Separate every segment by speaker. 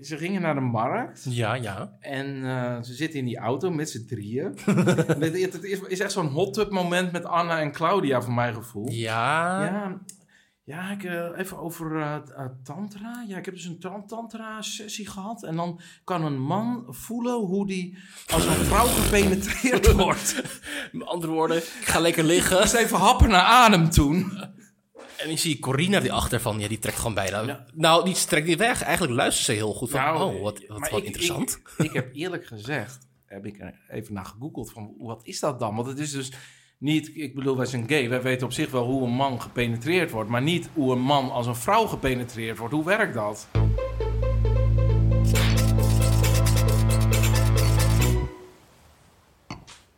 Speaker 1: ze gingen naar de markt.
Speaker 2: Ja, ja.
Speaker 1: En eh, ze zitten in die auto met z'n drieën. het, het- het is, is echt zo'n hot tub moment met Anna en Claudia, voor mijn gevoel.
Speaker 2: Ja.
Speaker 1: Ja, ja ik, eh, even over eh, t- eh, tantra. Ja, ik heb dus een tan- tantra-sessie gehad. En dan kan een man voelen hoe die als een vrouw gepenetreerd wordt.
Speaker 2: Met andere woorden, ik ga lekker liggen.
Speaker 1: Moest even happen naar adem toen.
Speaker 2: En ik zie Corina die achter van, ja, die trekt gewoon bijna.
Speaker 1: Ja.
Speaker 2: Nou, die trekt niet weg. Eigenlijk luistert ze heel goed van,
Speaker 1: Nou,
Speaker 2: oh, wat, wat,
Speaker 1: maar
Speaker 2: wat
Speaker 1: ik-
Speaker 2: interessant.
Speaker 1: Ik, ik heb eerlijk gezegd, heb ik er even naar gegoogeld van wat is dat dan? Want het is dus niet, ik bedoel, wij zijn gay. Wij weten op zich wel hoe een man gepenetreerd wordt. Maar niet hoe een man als een vrouw gepenetreerd wordt. Hoe werkt dat?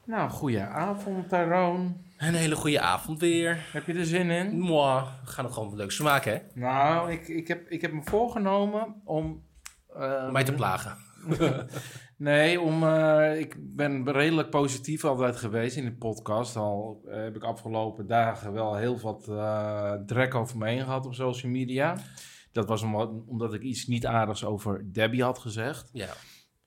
Speaker 1: Nou, goeie avond, Taroon.
Speaker 2: Een hele goede avond weer.
Speaker 1: Heb je er zin in?
Speaker 2: Mwah, we gaan het gewoon wat leuks maken, hè?
Speaker 1: Nou, ik, ik, heb, ik heb me voorgenomen om... eh,
Speaker 2: Om mij te plagen.
Speaker 1: Nee, om, eh, ik ben redelijk positief altijd geweest in de podcast. Al eh, heb ik afgelopen dagen wel heel wat eh drek over me heen gehad op social media. Dat was omdat, omdat ik iets niet aardigs over Debbie had gezegd.
Speaker 2: Ja.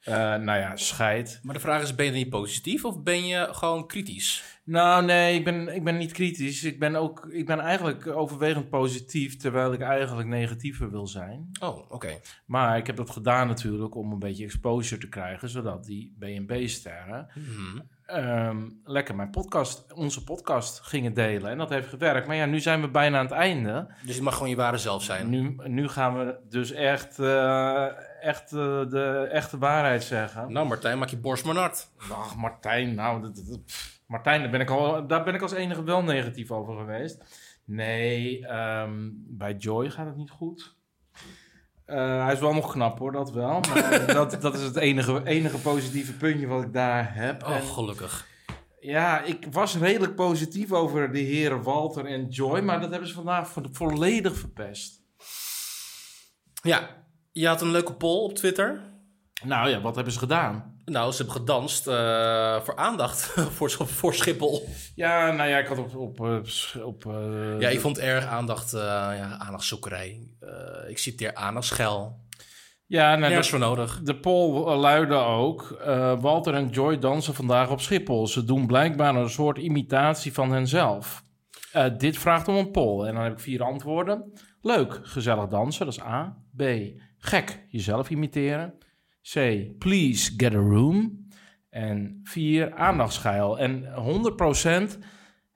Speaker 1: Eh, nou ja, scheid.
Speaker 2: Maar de vraag is, ben je niet positief of ben je gewoon kritisch?
Speaker 1: Nou nee, ik ben, ik ben niet kritisch. Ik ben, ook, ik ben eigenlijk overwegend positief, terwijl ik eigenlijk negatiever wil zijn.
Speaker 2: Oh, oké.
Speaker 1: Maar ik heb dat gedaan natuurlijk om een beetje exposure te krijgen, zodat die BNB-sterren
Speaker 2: Mhm.
Speaker 1: ehm, lekker mijn podcast, onze podcast gingen delen. En dat heeft gewerkt. Maar ja, nu zijn we bijna aan het einde.
Speaker 2: Dus je mag gewoon je ware zelf zijn.
Speaker 1: Nu, nu gaan we dus echt, eh, echt eh, de echte waarheid zeggen.
Speaker 2: Nou, Martijn, maak je borst maar nat.
Speaker 1: Ach, Martijn, nou, dat, dat- dat- pff, Martijn, daar ben, ik al, daar ben ik als enige wel negatief over geweest. Nee, ehm, bij Joy gaat het niet goed. Eh, hij is wel nog knap hoor, dat wel. Maar dat, dat is het enige, enige positieve puntje wat ik daar heb. En-
Speaker 2: Oh, gelukkig.
Speaker 1: ja, ik was redelijk positief over de heren Walter en Joy, maar dat hebben ze vandaag vo- volledig verpest.
Speaker 2: Ja, je had een leuke poll op Twitter.
Speaker 1: Nou ja, wat hebben ze gedaan?
Speaker 2: Nou, ze hebben gedanst eh, voor aandacht voor, voor Schiphol.
Speaker 1: Ja, nou ja, ik had op. op, eh, sch- op eh,
Speaker 2: Ja, ik vond het erg aandacht, eh ja, aandachtzoekerij. Eh, ik citeer aandachtsgel.
Speaker 1: ja nou,
Speaker 2: Nergens
Speaker 1: de,
Speaker 2: voor nodig.
Speaker 1: de poll eh, luidde ook. eh, Walter en Joy dansen vandaag op Schiphol. Ze doen blijkbaar een soort imitatie van henzelf. Eh, dit vraagt om een poll. En dan heb ik vier antwoorden. Leuk, gezellig dansen, dat is A. B. Gek, jezelf imiteren. C. Please get a room. En 4. Aandachtsgeil. En 100%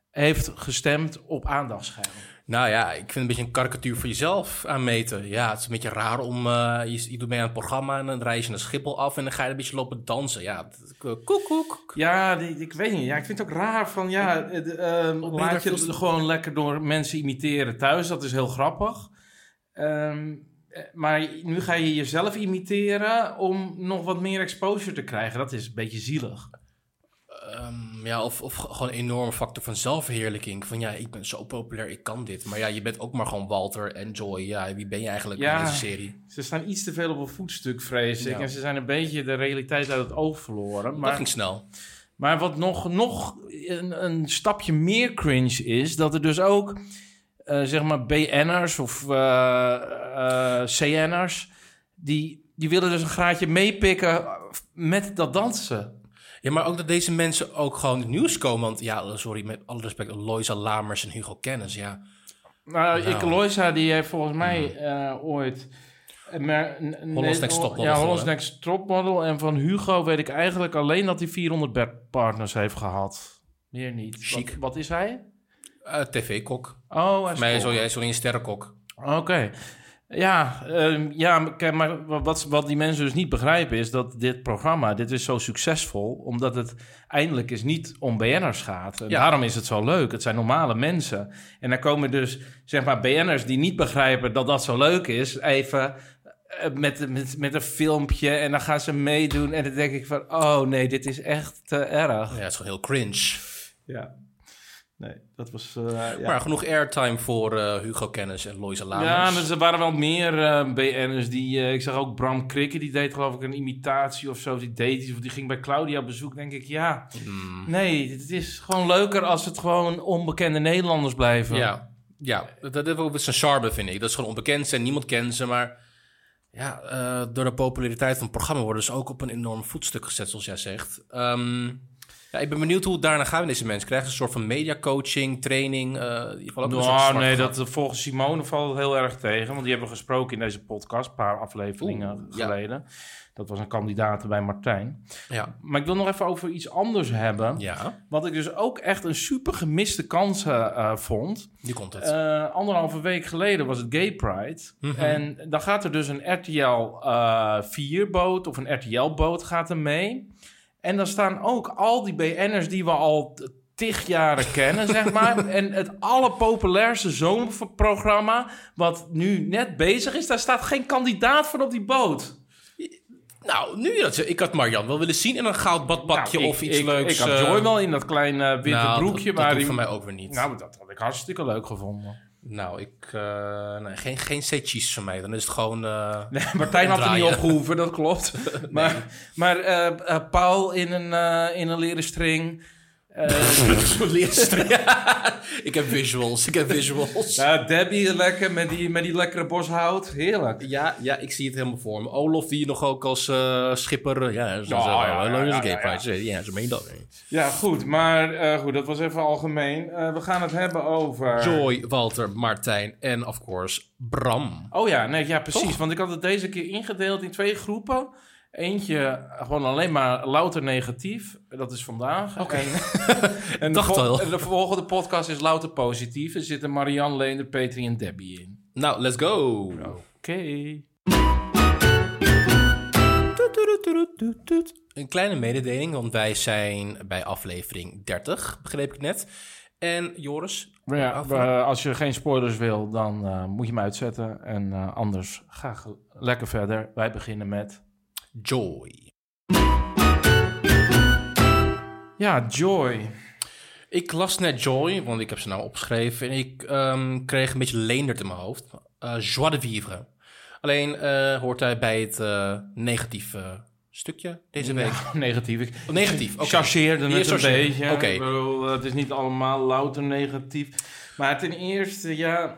Speaker 1: heeft gestemd op aandachtsgeil.
Speaker 2: Nou ja, ik vind het een beetje een karikatuur voor jezelf aanmeten. Ja, het is een beetje raar om... eh, je, je doet mee aan het programma en dan reis je naar Schiphol af... en dan ga je een beetje lopen dansen. Ja, dat- koek, koek.
Speaker 1: Ja, die- ik weet niet. Ja, ik vind het ook raar van ja, eh, de, ehm,
Speaker 2: Wat ben je
Speaker 1: laat je
Speaker 2: daar
Speaker 1: het gewoon lekker door mensen imiteren thuis. Dat is heel grappig. Ehm, eh, maar nu ga je jezelf imiteren om nog wat meer exposure te krijgen. Dat is een beetje zielig.
Speaker 2: Ehm, ja, of, of gewoon een enorme factor van zelfverheerlijking. Van ja, ik ben zo populair, ik kan dit. Maar ja, je bent ook maar gewoon Walter en Joy. Ja, wie ben je eigenlijk
Speaker 1: Ja.
Speaker 2: in deze serie?
Speaker 1: Ze staan iets te veel op een voetstuk, vrees ik.
Speaker 2: Ja.
Speaker 1: En ze zijn een beetje de realiteit uit het oog verloren.
Speaker 2: Dat
Speaker 1: Maar
Speaker 2: ging snel.
Speaker 1: Maar wat nog, nog een, een stapje meer cringe is, dat er dus ook eh, zeg maar BN'ers of eh, eh, CN'ers, die, die willen dus een graadje meepikken met dat dansen.
Speaker 2: Ja, maar ook dat deze mensen ook gewoon in het nieuws komen. Want ja, sorry, met alle respect, Loisa Lamers en Hugo Kennis. Ja,
Speaker 1: Nou,
Speaker 2: Nou. Mm-hmm.
Speaker 1: ik, Loisa, die heeft volgens mij eh, ooit... eh, Maar, n- n- nee,
Speaker 2: Hollands Next Topmodel
Speaker 1: Ja, Hollands
Speaker 2: gewonnen.
Speaker 1: Next Topmodel. En van Hugo weet ik eigenlijk alleen dat hij 400 bedpartners heeft gehad. Meer niet.
Speaker 2: Chic.
Speaker 1: Wat, wat is hij?
Speaker 2: Eh, tv-kok.
Speaker 1: Oh, hij is
Speaker 2: Mij
Speaker 1: kok.
Speaker 2: zo, jij is een sterrenkok.
Speaker 1: Oké. Ja, ehm, ja, maar kijk, maar wat, wat die mensen dus niet begrijpen is dat dit programma, dit is zo succesvol, omdat het eindelijk eens niet om BN'ers gaat. En
Speaker 2: Ja.
Speaker 1: daarom is het zo leuk. Het zijn normale mensen. En dan komen dus, zeg maar, BN'ers die niet begrijpen dat dat zo leuk is, even eh, met, met, met een filmpje en dan gaan ze meedoen. En dan denk ik van, oh nee, dit is echt te erg.
Speaker 2: Ja, het is gewoon heel cringe.
Speaker 1: Ja. Nee, dat was... eh,
Speaker 2: Maar genoeg airtime voor eh, Hugo Kennis en Loisa
Speaker 1: Ja,
Speaker 2: Lamers.
Speaker 1: dus er waren wel meer eh, BN'ers die... eh, ik zag ook Bram Krikke, die deed geloof ik een imitatie of zo. Die deed iets, of die ging bij Claudia op bezoek. denk ik, ja,
Speaker 2: Mm,
Speaker 1: nee, het is gewoon leuker als het gewoon onbekende Nederlanders blijven.
Speaker 2: ja, ja. Dat, dat, dat is een charme, vind ik. Dat is gewoon onbekend zijn, niemand kent ze, maar... Ja, eh, door de populariteit van het programma worden ze ook op een enorm voetstuk gezet, zoals jij zegt. Ehm, ja, ik ben benieuwd hoe het daarna gaat met deze mensen. Krijgen ze een soort van mediacoaching, training? eh, in ieder geval ook een soort
Speaker 1: Nou,
Speaker 2: zwart
Speaker 1: nee,
Speaker 2: gat.
Speaker 1: dat, volgens Simone valt het heel erg tegen. Want die hebben we gesproken in deze podcast, een paar afleveringen
Speaker 2: Oeh, ja.
Speaker 1: geleden. Dat was een kandidaat bij Martijn.
Speaker 2: Ja.
Speaker 1: Maar ik wil nog even over iets anders hebben.
Speaker 2: ja,
Speaker 1: Wat ik dus ook echt een super gemiste kans eh, eh, vond.
Speaker 2: nu komt het.
Speaker 1: Eh, anderhalve week geleden was het Gay Pride.
Speaker 2: Mhm.
Speaker 1: En dan gaat er dus een RTL 4-boot eh, of een RTL-boot gaat er mee. En dan staan ook al die BN'ers die we al t- tig jaren kennen, zeg maar. En het allerpopulairste zomerprogramma, wat nu net bezig is, daar staat geen kandidaat voor op die boot.
Speaker 2: nou, nu je dat zegt, ik had Marjan wel willen zien in een goud badpakje
Speaker 1: Nou, ik-
Speaker 2: of iets
Speaker 1: ik,
Speaker 2: leuks.
Speaker 1: Ik had
Speaker 2: eh,
Speaker 1: Joy wel in dat kleine witte
Speaker 2: nou,
Speaker 1: broekje,
Speaker 2: dat, dat
Speaker 1: maar
Speaker 2: hoeft
Speaker 1: die-
Speaker 2: van mij ook weer niet. Nou,
Speaker 1: nou, dat had ik hartstikke leuk gevonden.
Speaker 2: ik, eh, nee, geen, geen setjes voor mij. Dan is het gewoon... eh,
Speaker 1: Nee, Martijn had er niet
Speaker 2: Omdraaien.
Speaker 1: op gehoeven, dat klopt. Maar, maar eh, eh, Paul in een, eh, in een leren string. Eh,
Speaker 2: ik heb visuals, ik heb visuals.
Speaker 1: Ja, Debbie lekker met die, met die lekkere boshout. Heerlijk.
Speaker 2: Ja, ja, ik zie het helemaal voor me. Olof die nog ook als eh, schipper... eh, Ja, zo,
Speaker 1: Ja,
Speaker 2: zo,
Speaker 1: ja,
Speaker 2: eh,
Speaker 1: ja,
Speaker 2: Lawrence
Speaker 1: ja,
Speaker 2: Gay
Speaker 1: ja,
Speaker 2: Pride. Ja, zo meen je dat. hè.
Speaker 1: Ja, goed. Maar eh, goed, dat was even algemeen. Eh, we gaan het hebben over...
Speaker 2: Joy, Walter, Martijn en, of course, Bram.
Speaker 1: Oh ja, nee, ja, precies.
Speaker 2: Toch?
Speaker 1: Want ik had het deze keer ingedeeld in twee groepen. Eentje eh, gewoon alleen maar louter negatief. Dat is vandaag. Oké. En, en, de
Speaker 2: Dacht
Speaker 1: vol-
Speaker 2: al.
Speaker 1: en de volgende podcast is louter positief. Er zitten Marianne, Leender, Petri en Debbie in.
Speaker 2: Nou, let's go.
Speaker 1: Oké.
Speaker 2: Een kleine mededeling, want wij zijn bij aflevering 30, begreep ik net. En Joris,
Speaker 1: Maar ja, eh, als je geen spoilers wil, dan eh, moet je hem uitzetten. En eh, anders ga ge- lekker verder. Wij beginnen met.
Speaker 2: Joy.
Speaker 1: Ja, Joy.
Speaker 2: Ik las net Joy, want ik heb ze nou opgeschreven. En ik ehm, kreeg een beetje leendert in mijn hoofd. Eh joie de vivre. Alleen eh, hoort hij bij het eh, negatieve stukje deze week.
Speaker 1: Negatief. Ik
Speaker 2: Oh, negatief, oké.
Speaker 1: chargeerde
Speaker 2: Je
Speaker 1: het een
Speaker 2: chargeerde,
Speaker 1: beetje.
Speaker 2: oké.
Speaker 1: Ik bedoel, het is niet allemaal louter negatief. Maar ten eerste, ja.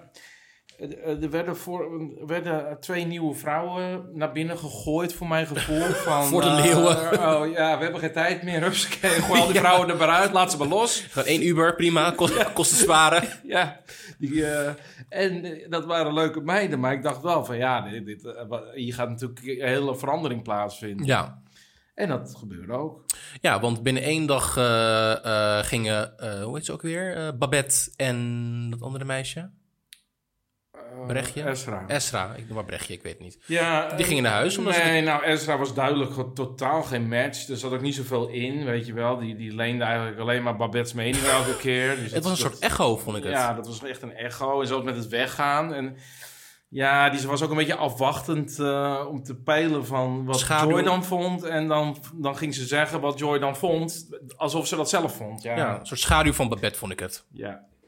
Speaker 1: eh, Er werden, voor, er werden twee nieuwe vrouwen naar binnen gegooid, voor mijn gevoel. Van,
Speaker 2: Voor de
Speaker 1: eh,
Speaker 2: leeuwen.
Speaker 1: oh ja, we hebben geen tijd meer. Hupsakee, gooi al die vrouwen er maar uit, laat ze maar los.
Speaker 2: Gewoon één Uber, prima. Kost, kosten sparen.
Speaker 1: Ja, die, eh, en eh, dat waren leuke meiden, maar ik dacht wel van ja, dit, dit, eh, wa- hier gaat natuurlijk een hele verandering plaatsvinden.
Speaker 2: Ja.
Speaker 1: En dat gebeurde ook.
Speaker 2: ja, want binnen één dag eh, eh, gingen, eh, hoe heet ze ook weer? Eh, Babette en dat andere meisje.
Speaker 1: Eh,
Speaker 2: Brechtje?
Speaker 1: Ezra.
Speaker 2: Esra, ik noem maar Brechtje, ik weet het niet.
Speaker 1: ja,
Speaker 2: Die gingen naar huis omdat ze-
Speaker 1: Nee, nou Ezra was duidelijk gewoon totaal geen match. Er zat ook niet zoveel in, weet je wel. Die, die leende eigenlijk alleen maar Babette's mening elke keer. Dus
Speaker 2: Het was
Speaker 1: dat-
Speaker 2: een soort echo, vond ik het.
Speaker 1: Ja, dat was echt een echo. En zo ook met het weggaan. En ja, die was ook een beetje afwachtend eh, om te peilen van wat
Speaker 2: Schaduw.
Speaker 1: Joy dan vond. En dan, dan ging ze zeggen wat Joy dan vond, alsof ze dat zelf vond. Ja,
Speaker 2: Ja,
Speaker 1: ja.
Speaker 2: een soort schaduw van Babette, vond ik het.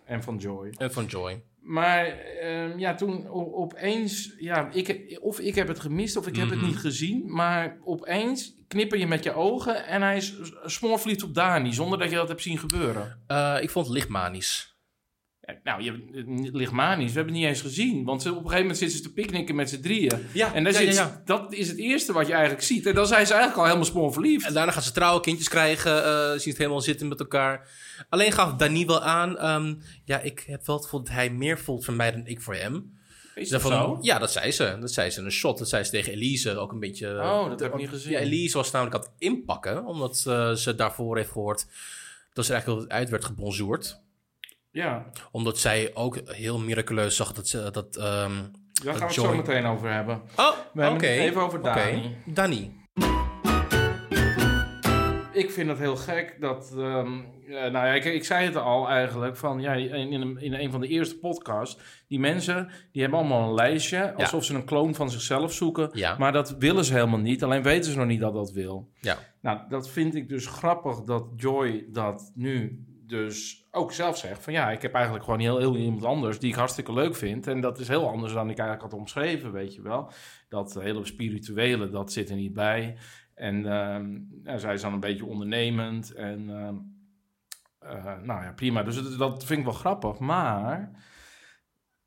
Speaker 1: en van Joy.
Speaker 2: En van Joy.
Speaker 1: Maar ehm, ja, toen o- opeens, ja, ik, of ik heb het gemist of ik heb
Speaker 2: Mhm.
Speaker 1: het niet gezien. Maar opeens knipper je met je ogen en hij is smoorvliet op Dani, zonder dat je dat hebt zien gebeuren.
Speaker 2: Eh, ik vond het lichtmanisch.
Speaker 1: Ja, Nou, je, het ligt manisch. We hebben het niet eens gezien. Want ze- op een gegeven moment zitten ze te picknicken met z'n drieën.
Speaker 2: Ja,
Speaker 1: en daar
Speaker 2: ja,
Speaker 1: zit,
Speaker 2: ja, ja.
Speaker 1: dat is het eerste wat je eigenlijk ziet. En dan zijn ze eigenlijk al helemaal spoorverliefd.
Speaker 2: En daarna gaan ze trouwen, kindjes krijgen, eh zien het helemaal zitten met elkaar. Alleen gaf Dani wel aan, ehm, ja, ik heb wel het gevoel dat hij meer voelt van mij dan ik voor hem.
Speaker 1: Is
Speaker 2: Ze
Speaker 1: dat
Speaker 2: van-
Speaker 1: zo?
Speaker 2: Ja, dat zei ze. Dat zei ze in een shot. Dat zei ze tegen Elise, ook een beetje... eh,
Speaker 1: Oh, dat heb ik niet gezien.
Speaker 2: Ja, Elise was namelijk aan het inpakken, omdat eh, ze daarvoor heeft gehoord dat ze eigenlijk uit werd gebonzoerd.
Speaker 1: Ja,
Speaker 2: Omdat zij ook heel miraculeus zag dat ze... Dat, ehm,
Speaker 1: daar gaan we het
Speaker 2: Joy.
Speaker 1: zo meteen over hebben.
Speaker 2: Oh,
Speaker 1: We hebben
Speaker 2: oké.
Speaker 1: het even over
Speaker 2: Oké.
Speaker 1: Dani.
Speaker 2: Dani.
Speaker 1: Ik vind het heel gek dat... ehm, eh, nou ja, ik, ik zei het al eigenlijk. Van, ja, in, in, een, in een van de eerste podcasts. Die mensen die hebben allemaal een lijstje. Alsof ze een kloon van zichzelf zoeken.
Speaker 2: Ja.
Speaker 1: Maar dat willen ze helemaal niet. Alleen weten ze nog niet dat dat wil.
Speaker 2: Ja.
Speaker 1: Nou, dat vind ik dus grappig dat Joy dat nu dus ook zelf zegt. Van ja, ik heb eigenlijk gewoon heel, heel iemand anders die ik hartstikke leuk vind. En dat is heel anders dan ik eigenlijk had omschreven, weet je wel. Dat hele spirituele, dat zit er niet bij. En ehm, ja, zij is dan een beetje ondernemend. En ehm, eh, nou ja, prima. Dus het- dat vind ik wel grappig. Maar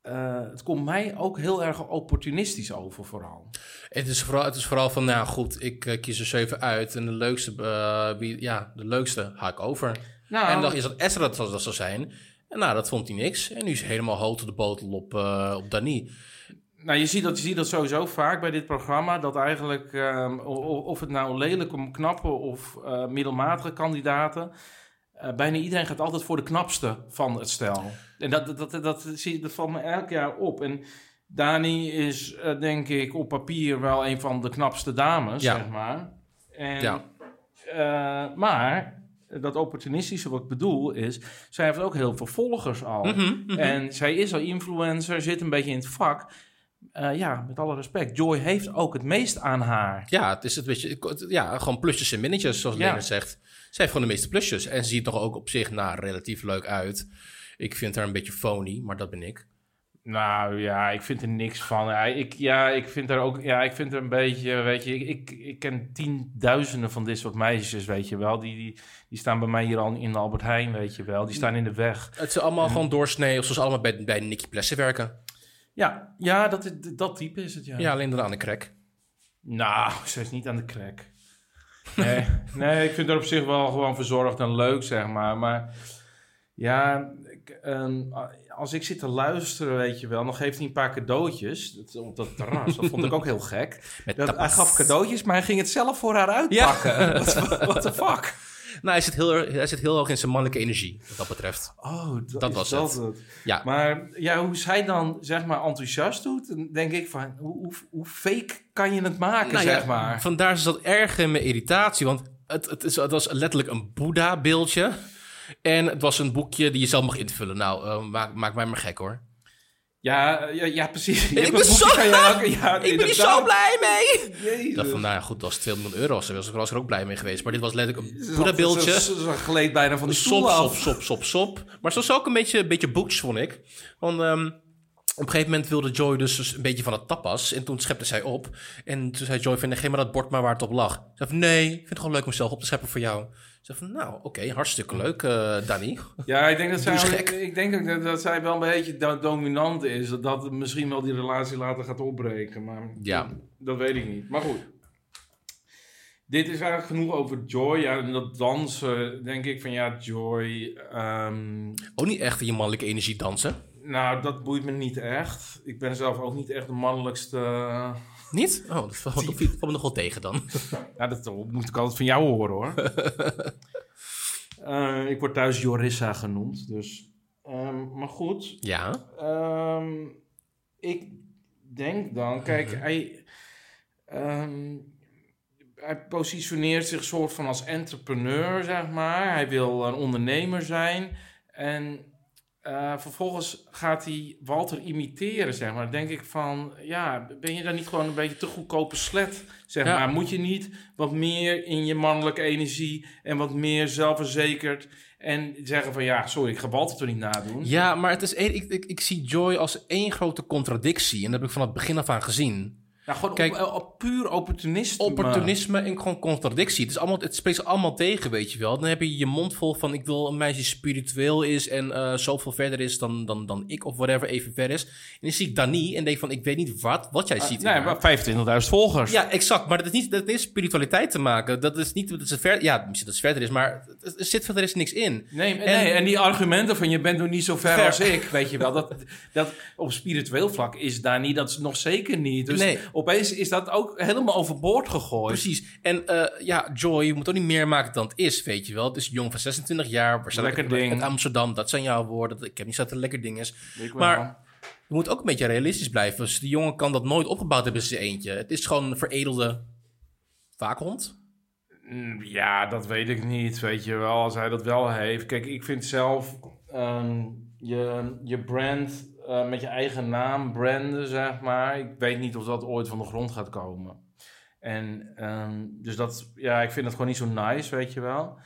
Speaker 1: eh, het komt mij ook heel erg opportunistisch over vooral.
Speaker 2: Het is vooral, het is vooral van, nou goed, ik eh, kies er zeven uit en de leukste, eh, wie, ja, de leukste haak ik over.
Speaker 1: Nou,
Speaker 2: En dan is dat Ezra dat, dat zou zijn. En nou, dat vond hij niks. En nu is hij helemaal hout op de botel op, eh op Dani.
Speaker 1: Nou, je ziet, dat, je ziet dat sowieso vaak bij dit programma. Dat eigenlijk, ehm, o- o- of het nou lelijke, knappe of eh, middelmatige kandidaten. eh, bijna iedereen gaat altijd voor de knapste van het stel. En dat, dat, dat, dat, zie, dat valt me elk jaar op. En Dani is, eh, denk ik, op papier wel een van de knapste dames,
Speaker 2: Ja.
Speaker 1: zeg maar. En,
Speaker 2: Ja.
Speaker 1: eh, maar dat opportunistische wat ik bedoel is... zij heeft ook heel veel volgers al. En zij is al influencer, zit een beetje in het vak. Eh, ja, met alle respect. Joy heeft ook het meest aan haar.
Speaker 2: Ja, het is het beetje, het- ja, gewoon plusjes en minnetjes, zoals
Speaker 1: Ja.
Speaker 2: Leonard zegt. Zij heeft gewoon de meeste plusjes. En ze ziet er ook op zich, nou, relatief leuk uit. Ik vind haar een beetje phony, maar dat ben ik.
Speaker 1: Nou ja, ik vind er niks van. Ja, ik, ja, ik vind er ook. Ja, ik vind er een beetje. Weet je, ik, ik, ik ken tienduizenden van dit soort meisjes, weet je wel. Die, die, die staan bij mij hier al in de Albert Heijn, weet je wel. Die staan in de weg.
Speaker 2: Het zijn allemaal gewoon doorsnee, of zoals ze allemaal bij, bij Nicky Plessen werken.
Speaker 1: Ja, ja dat, is- dat type is het, ja.
Speaker 2: Ja, alleen dan aan de crack.
Speaker 1: Nou, ze is niet aan de crack. Nee, nee ik vind haar op zich wel gewoon verzorgd en leuk, zeg maar. Maar ja, ik, ehm, als ik zit te luisteren, weet je wel, dan geeft hij een paar cadeautjes. Dat, op dat terras, dat vond ik ook heel gek.
Speaker 2: Met
Speaker 1: Dat, hij
Speaker 2: tapas.
Speaker 1: gaf cadeautjes, maar hij ging het zelf voor haar uitpakken. What, what the fuck?
Speaker 2: Nou, hij zit, heel, erg- hij zit heel hoog in zijn mannelijke energie, wat dat betreft.
Speaker 1: Oh, dat,
Speaker 2: Dat
Speaker 1: is
Speaker 2: was
Speaker 1: dat
Speaker 2: het.
Speaker 1: het.
Speaker 2: Ja.
Speaker 1: Maar ja, hoe zij dan, zeg maar, enthousiast doet, dan denk ik van, hoe, hoe, hoe fake kan je het maken,
Speaker 2: Nou ja,
Speaker 1: zeg maar?
Speaker 2: Vandaar is dat erg in mijn irritatie, want het, het, is, het was letterlijk een Boeddha-beeldje. En het was een boekje die je zelf mag invullen. Nou, eh, maak, maak mij maar gek hoor.
Speaker 1: Ja, ja, ja precies. Je hebt
Speaker 2: ik
Speaker 1: een
Speaker 2: ben zo
Speaker 1: boekje van je hakken.
Speaker 2: blij!
Speaker 1: Ja,
Speaker 2: ik ben hier
Speaker 1: inderdaad.
Speaker 2: zo blij mee!
Speaker 1: Jezus.
Speaker 2: Ik dacht van, nou ja, goed, dat was 2 miljoen euro. Daar was, ik- was ik er ook blij mee geweest. Maar dit was letterlijk
Speaker 1: Ze
Speaker 2: een
Speaker 1: zat-
Speaker 2: Boeddha-beeldje.
Speaker 1: Ze, ze, ze gleed bijna van de stoel
Speaker 2: Sop, sop,
Speaker 1: af.
Speaker 2: sop, sop, sop. Maar ze was ook een beetje, een beetje boeks, vond ik. Want ehm, op een gegeven moment wilde Joy dus dus een beetje van het tapas. En toen schepte zij op. En toen zei Joy van, geef maar dat bord maar waar het op lag. Ze zei van, nee, ik vind het gewoon leuk om zelf op te scheppen voor jou. Ze zei van, nou, oké, hartstikke leuk, eh Danny.
Speaker 1: Ja, ik denk dat
Speaker 2: Doe eens
Speaker 1: zij,
Speaker 2: gek.
Speaker 1: ik denk ook dat, dat zij wel een beetje do- dominant is. Dat dat misschien wel die relatie later gaat opbreken. Maar
Speaker 2: Ja.
Speaker 1: dat, dat weet ik niet. Maar goed. Dit is eigenlijk genoeg over Joy. Ja, en dat dansen, denk ik van ja, Joy. ehm,
Speaker 2: Ook niet echt in je mannelijke energie dansen.
Speaker 1: nou, dat boeit me niet echt. Ik ben zelf ook niet echt de mannelijkste.
Speaker 2: Niet? Oh, dat valt valt me nog wel tegen dan.
Speaker 1: Nou, dat moet ik altijd van jou horen hoor. Eh, ik word thuis Jorissa genoemd, dus. Ehm, maar goed,
Speaker 2: Ja.
Speaker 1: ehm, ik denk dan, kijk, hij, ehm, hij positioneert zich soort van als entrepreneur, zeg maar. Hij wil een ondernemer zijn. En eh, vervolgens gaat hij Walter imiteren, zeg maar. Dan denk ik van, ja, ben je dan niet gewoon een beetje te goedkope slet, zeg
Speaker 2: Ja.
Speaker 1: maar? Moet je niet wat meer in je mannelijke energie en wat meer zelfverzekerd... en zeggen van, ja, sorry, ik ga Walter toch niet nadoen?
Speaker 2: Ja, maar het is één, ik, ik, ik zie Joy als één grote contradictie. En dat heb ik van het begin af aan gezien.
Speaker 1: Nou, gewoon
Speaker 2: Kijk,
Speaker 1: op, op puur opportunisme.
Speaker 2: opportunisme en gewoon contradictie. Het, is allemaal, het spreekt ze allemaal tegen, weet je wel. Dan heb je je mond vol van ik wil een meisje die spiritueel is en eh, zoveel verder is dan, dan, dan ik of whatever even ver is. En dan zie ik Dani en denk van ik weet niet wat, wat jij
Speaker 1: Ah,
Speaker 2: ziet. in
Speaker 1: nee,
Speaker 2: haar.
Speaker 1: maar 25.000 volgers.
Speaker 2: Ja, exact. Maar dat is niet dat heeft spiritualiteit te maken. Dat is niet dat ze ver, ja, misschien dat ze verder is, maar er zit verder is niks in.
Speaker 1: Nee, en,
Speaker 2: En-
Speaker 1: nee, en die argumenten van je bent nog niet zo ver,
Speaker 2: Ver.
Speaker 1: als ik, weet je wel. Dat, dat op spiritueel vlak is daar niet, dat is nog zeker niet. Dus
Speaker 2: Nee.
Speaker 1: opeens is dat ook helemaal overboord gegooid.
Speaker 2: Precies. En eh, ja, Joy, je moet ook niet meer maken dan het is, weet je wel. Het is jong van 26 jaar, waarschijnlijk
Speaker 1: Lekker ding.
Speaker 2: uit Amsterdam. Dat zijn jouw woorden. Ik heb niet gezegd dat het lekker ding is. maar- Je moet ook een beetje realistisch blijven. Dus die jongen kan dat nooit opgebouwd hebben in zijn eentje. Het is gewoon een veredelde waakhond.
Speaker 1: Mm, Ja, dat weet ik niet, weet je wel. Als hij dat wel heeft. Kijk, ik vind zelf ehm, je, je brand eh, met je eigen naam branden, zeg maar. Ik weet niet of dat ooit van de grond gaat komen. En ehm, dus dat, ja, ik vind dat gewoon niet zo nice, weet je wel.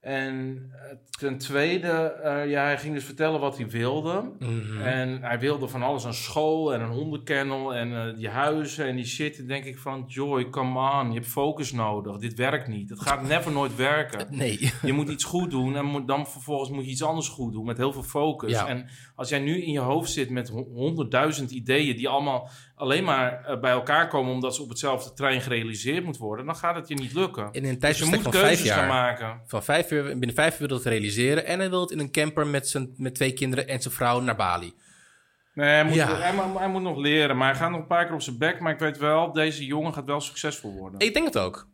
Speaker 1: En eh, ten tweede, eh, ja, hij ging dus vertellen wat hij wilde.
Speaker 2: Mhm.
Speaker 1: En hij wilde van alles, een school en een hondenkennel en eh, die huizen en die shit. En denk ik van, Joy, come on, je hebt focus nodig. Dit werkt niet. Het gaat never nooit werken.
Speaker 2: Nee.
Speaker 1: Je moet iets goed doen en moet, dan vervolgens moet je iets anders goed doen met heel veel focus.
Speaker 2: Ja.
Speaker 1: En als jij nu in je hoofd zit met hon- honderdduizend ideeën die allemaal alleen maar eh, bij elkaar komen omdat ze op hetzelfde trein gerealiseerd moet worden, dan gaat het je niet lukken.
Speaker 2: In een
Speaker 1: Dus je
Speaker 2: tijdsbestek
Speaker 1: moet
Speaker 2: van vijf
Speaker 1: keuzes gaan
Speaker 2: jaar.
Speaker 1: maken.
Speaker 2: Van vijf uur, binnen vijf uur wil hij het realiseren. En hij wil het in een camper met, zijn, met twee kinderen en zijn vrouw naar Bali.
Speaker 1: Nee, hij moet,
Speaker 2: Ja.
Speaker 1: hij, moet- hij moet nog leren, maar hij gaat nog een paar keer op zijn bek. Maar ik weet wel, deze jongen gaat wel succesvol worden.
Speaker 2: Ik denk het ook.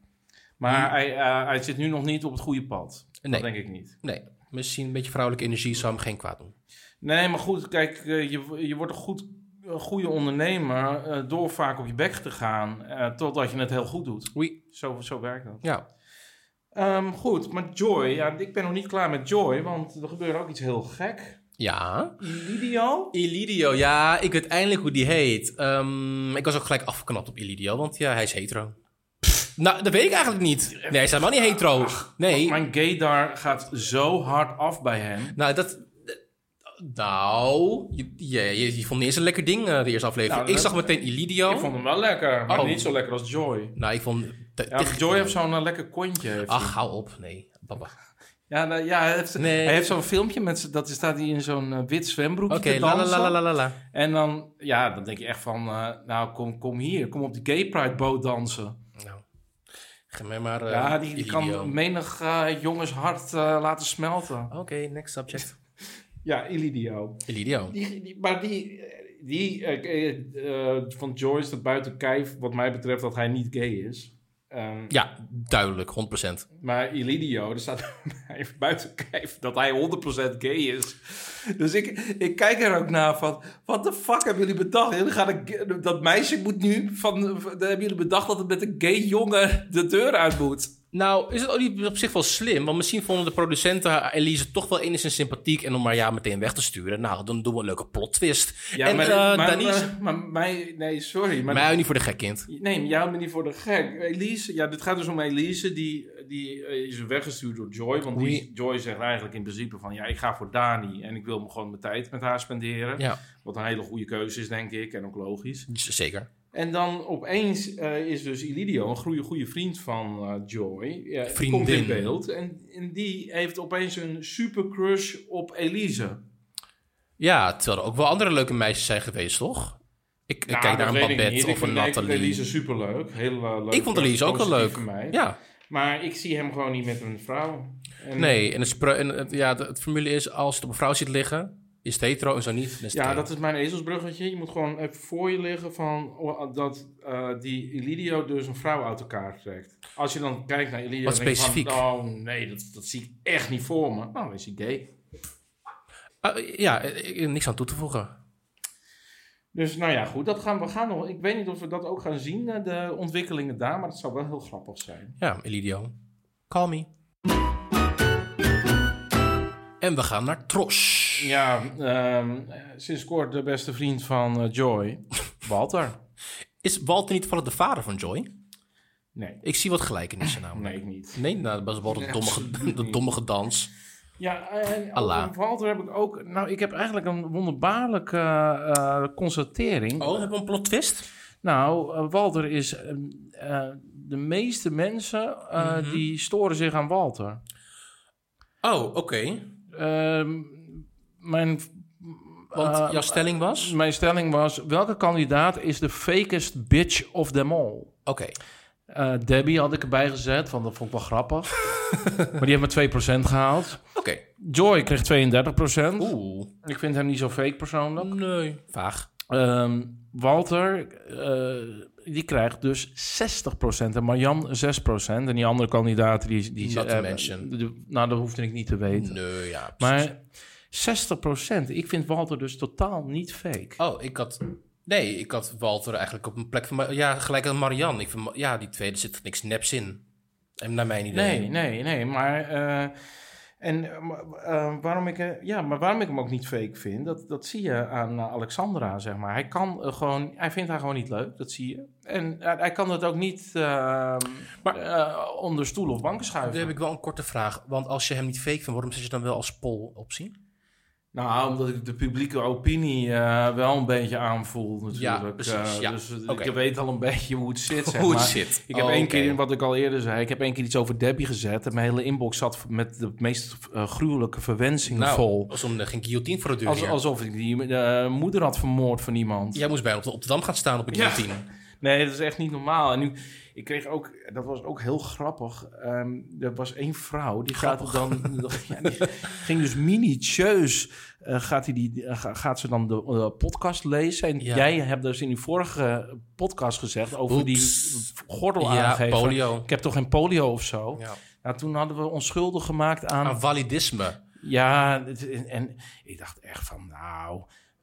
Speaker 1: Maar hij, eh, hij zit nu nog niet op het goede pad.
Speaker 2: Hmm. Nee.
Speaker 1: Dat denk ik niet.
Speaker 2: Nee, misschien een beetje vrouwelijke energie zou hem geen kwaad doen.
Speaker 1: Nee, maar goed, kijk, eh, je, je wordt een goed, een goede ondernemer eh, door vaak op je bek te gaan eh, totdat je het heel goed doet.
Speaker 2: Oei.
Speaker 1: Zo, zo werkt dat.
Speaker 2: Ja.
Speaker 1: Ehm, goed, maar Joy, ja, ik ben nog niet klaar met Joy, want er gebeurde ook iets heel gek.
Speaker 2: Ja.
Speaker 1: Lidio?
Speaker 2: Illidio, ja, ik weet eindelijk hoe die heet. Ehm, ik was ook gelijk afgeknapt op Illidio, want ja, hij is hetero. Pff, nou, dat weet ik eigenlijk niet. Nee, hij is helemaal niet hetero. Nee.
Speaker 1: Mijn gaydar gaat zo hard af bij hem.
Speaker 2: Nou, dat... Nou, je, je, je- je vond niet eens een lekker ding, eh, de eerste aflevering.
Speaker 1: Nou, dat-
Speaker 2: ik zag meteen Illidio.
Speaker 1: Ik vond hem wel lekker, maar
Speaker 2: Oh.
Speaker 1: niet zo lekker als Joy.
Speaker 2: Nou, ik vond... te-
Speaker 1: Ja,
Speaker 2: te-
Speaker 1: Joy heeft zo'n eh, lekker kontje. Heeft hij.
Speaker 2: Ach, hou op. Nee, papa.
Speaker 1: Ja, nou, ja hij heeft,
Speaker 2: Nee.
Speaker 1: hij heeft zo'n filmpje met z'n- dat staat hij in zo'n eh, wit zwembroekje
Speaker 2: Oké,
Speaker 1: te
Speaker 2: la la
Speaker 1: dansen.
Speaker 2: la la la la.
Speaker 1: En dan, ja, dan denk je echt van, eh, nou kom, kom hier, kom op die gay pride boot dansen.
Speaker 2: Nou, geef mij maar eh,
Speaker 1: ja, die, die
Speaker 2: Illidio.
Speaker 1: kan menig eh, jongens hart eh, laten smelten.
Speaker 2: Oké, next subject.
Speaker 1: Ja, Illidio.
Speaker 2: Illidio.
Speaker 1: Die, die- maar die, eh, die eh, eh, eh, van Joyce, dat buiten kijf, wat mij betreft, dat hij niet gay is. Ehm,
Speaker 2: Ja, duidelijk, 100%.
Speaker 1: Maar Illidio, er staat bij buiten kijf dat hij 100% gay is. Dus ik, ik kijk er ook naar van, wat de fuck hebben jullie bedacht? Jullie gaan een ga- dat meisje moet nu, van, dan hebben jullie bedacht dat het met een gay jongen de deur uit moet.
Speaker 2: Nou, is het ook niet op zich wel slim? Want misschien vonden de producenten haar Elise toch wel enigszins sympathiek. En om haar ja meteen weg te sturen. Nou, dan doen we een leuke plot twist. en eh Denise.
Speaker 1: maar, maar mij, nee, sorry. Maar,
Speaker 2: mij hou je niet voor de gek, kind.
Speaker 1: nee, maar jij houdt me niet voor de gek. Elise, ja, dit gaat dus om Elise, die, die eh, is weggestuurd door Joy. Want die,
Speaker 2: Oei.
Speaker 1: Joy zegt eigenlijk in principe van, ja, ik ga voor Dani en ik wil me gewoon mijn tijd met haar spenderen.
Speaker 2: Ja,
Speaker 1: Wat een hele goede keuze is, denk ik, en ook logisch.
Speaker 2: z- zeker.
Speaker 1: En dan opeens eh, is dus Illidio, een goede, goede vriend van eh, Joy, ja,
Speaker 2: Vriendin.
Speaker 1: komt in beeld. En, en die heeft opeens een super crush op Elise.
Speaker 2: Ja, terwijl er ook wel andere leuke meisjes zijn geweest, toch? Ik, ik
Speaker 1: Nou,
Speaker 2: kijk
Speaker 1: dat
Speaker 2: naar een
Speaker 1: weet ik niet.
Speaker 2: Babette
Speaker 1: Ik
Speaker 2: of een
Speaker 1: vind- nee, Ik vond Elise
Speaker 2: Nathalie.
Speaker 1: superleuk. Heel, eh, leuk.
Speaker 2: Ik vond Elise ook wel
Speaker 1: Positief
Speaker 2: leuk.
Speaker 1: voor mij.
Speaker 2: Ja,
Speaker 1: Maar ik zie hem gewoon niet met een vrouw. En-
Speaker 2: nee. En, het, spre- en het- ja, de- het formule is, als het op een vrouw zit liggen, is het hetero en zo niet. dan is het
Speaker 1: Ja,
Speaker 2: gay.
Speaker 1: dat is mijn ezelsbruggetje. Je moet gewoon even voor je liggen van oh, dat eh, die Illidio dus een vrouw uit elkaar trekt. Als je dan kijkt naar Illidio...
Speaker 2: Wat
Speaker 1: dan denk je van,
Speaker 2: specifiek.
Speaker 1: oh nee, dat, dat zie ik echt niet voor me. Nou, is hij gay.
Speaker 2: Ah, ja, eh, eh, niks aan toe te voegen.
Speaker 1: Dus nou ja, goed. Dat gaan, we gaan nog, ik weet niet of we dat ook gaan zien, eh, de ontwikkelingen daar. Maar dat zou wel heel grappig zijn.
Speaker 2: Ja, Elidio. Call me. En we gaan naar Tros.
Speaker 1: Ja, ehm, sinds kort de beste vriend van eh, Joy, Walter.
Speaker 2: Is Walter niet toevallig de vader van Joy?
Speaker 1: Nee,
Speaker 2: Ik zie wat gelijkenissen namelijk.
Speaker 1: nee, ik niet.
Speaker 2: Nee, nou, dat was wel
Speaker 1: Nee,
Speaker 2: dat domme,
Speaker 1: absoluut
Speaker 2: ge- dat
Speaker 1: niet.
Speaker 2: domme gedans.
Speaker 1: Ja, en over
Speaker 2: Allah.
Speaker 1: Walter heb ik ook... Nou, ik heb eigenlijk een wonderbaarlijke eh, eh, constatering.
Speaker 2: Oh, hebben we een plot twist?
Speaker 1: Nou, eh, Walter is... eh, eh, de meeste mensen eh,
Speaker 2: Mhm.
Speaker 1: die storen zich aan Walter.
Speaker 2: Oh, oké.
Speaker 1: Ehm, mijn,
Speaker 2: Want
Speaker 1: eh,
Speaker 2: jouw stelling was?
Speaker 1: mijn stelling was... Welke kandidaat is de fakest bitch of them all?
Speaker 2: Oké.
Speaker 1: Eh, Debbie had ik erbij gezet, want dat vond ik wel grappig. maar die heeft maar 2% gehaald.
Speaker 2: Oké.
Speaker 1: Joy kreeg 32%.
Speaker 2: Oeh.
Speaker 1: Ik vind hem niet zo fake persoonlijk.
Speaker 2: Nee. Vaag.
Speaker 1: Ehm, Walter, eh, die krijgt dus 60% en Marjan 6%. En die andere kandidaten, die... die
Speaker 2: Not to
Speaker 1: eh,
Speaker 2: mention.
Speaker 1: de- nou, dat hoefde ik niet te weten.
Speaker 2: Nee, ja.
Speaker 1: Maar 60%, ik vind Walter dus totaal niet fake.
Speaker 2: Oh, ik had... Nee, ik had Walter eigenlijk op een plek van... Ma- Ja, gelijk aan Marianne. Ik vind, Ma- ja, die tweede zit niks neps in. En naar mijn idee.
Speaker 1: Nee, nee, nee, maar... eh, En eh, maar, eh, waarom, ik, eh, ja, maar waarom ik hem ook niet fake vind, dat, dat zie je aan eh, Alexandra, zeg maar. Hij, kan, eh, gewoon, hij vindt haar gewoon niet leuk, dat zie je. En hij, hij kan dat ook niet eh,
Speaker 2: Maar-
Speaker 1: eh, onder stoel of banken
Speaker 2: Dan
Speaker 1: schuiven.
Speaker 2: heb ik wel een korte vraag. Want als je hem niet fake vindt, waarom zet je dan wel als poll optie?
Speaker 1: Nou, omdat ik de publieke opinie eh, wel een beetje aanvoel natuurlijk.
Speaker 2: Ja, precies,
Speaker 1: Eh,
Speaker 2: ja.
Speaker 1: dus eh,
Speaker 2: Oké.
Speaker 1: je weet al een beetje hoe het zit, zeg maar.
Speaker 2: zit.
Speaker 1: Ik heb één keer, wat ik al eerder zei, ik heb één keer iets over Debbie gezet. En mijn hele inbox zat met de meest eh, gruwelijke verwensingen
Speaker 2: nou,
Speaker 1: vol.
Speaker 2: Als om de geen guillotine voor de deur.
Speaker 1: Als,
Speaker 2: hier.
Speaker 1: alsof ik die eh, moeder had vermoord van iemand.
Speaker 2: Jij moest bijna op de, op de dam gaan staan op een
Speaker 1: Ja.
Speaker 2: guillotine.
Speaker 1: Nee, dat is echt niet normaal. En nu, ik kreeg ook, dat was ook heel grappig. Ehm, er was één vrouw, die gaat dan, ja, die ging dus minutieus, eh, gaat, die, die, eh, ga- gaat ze dan de eh, podcast lezen. En
Speaker 2: Ja.
Speaker 1: jij hebt dus in uw vorige podcast gezegd over
Speaker 2: Oeps.
Speaker 1: die gordel
Speaker 2: Ja,
Speaker 1: aangeven.
Speaker 2: polio.
Speaker 1: Ik heb toch geen polio of zo?
Speaker 2: Ja.
Speaker 1: Nou, toen hadden we ons schuldig gemaakt aan...
Speaker 2: Aan validisme.
Speaker 1: Ja, het- en, en ik dacht echt van, nou,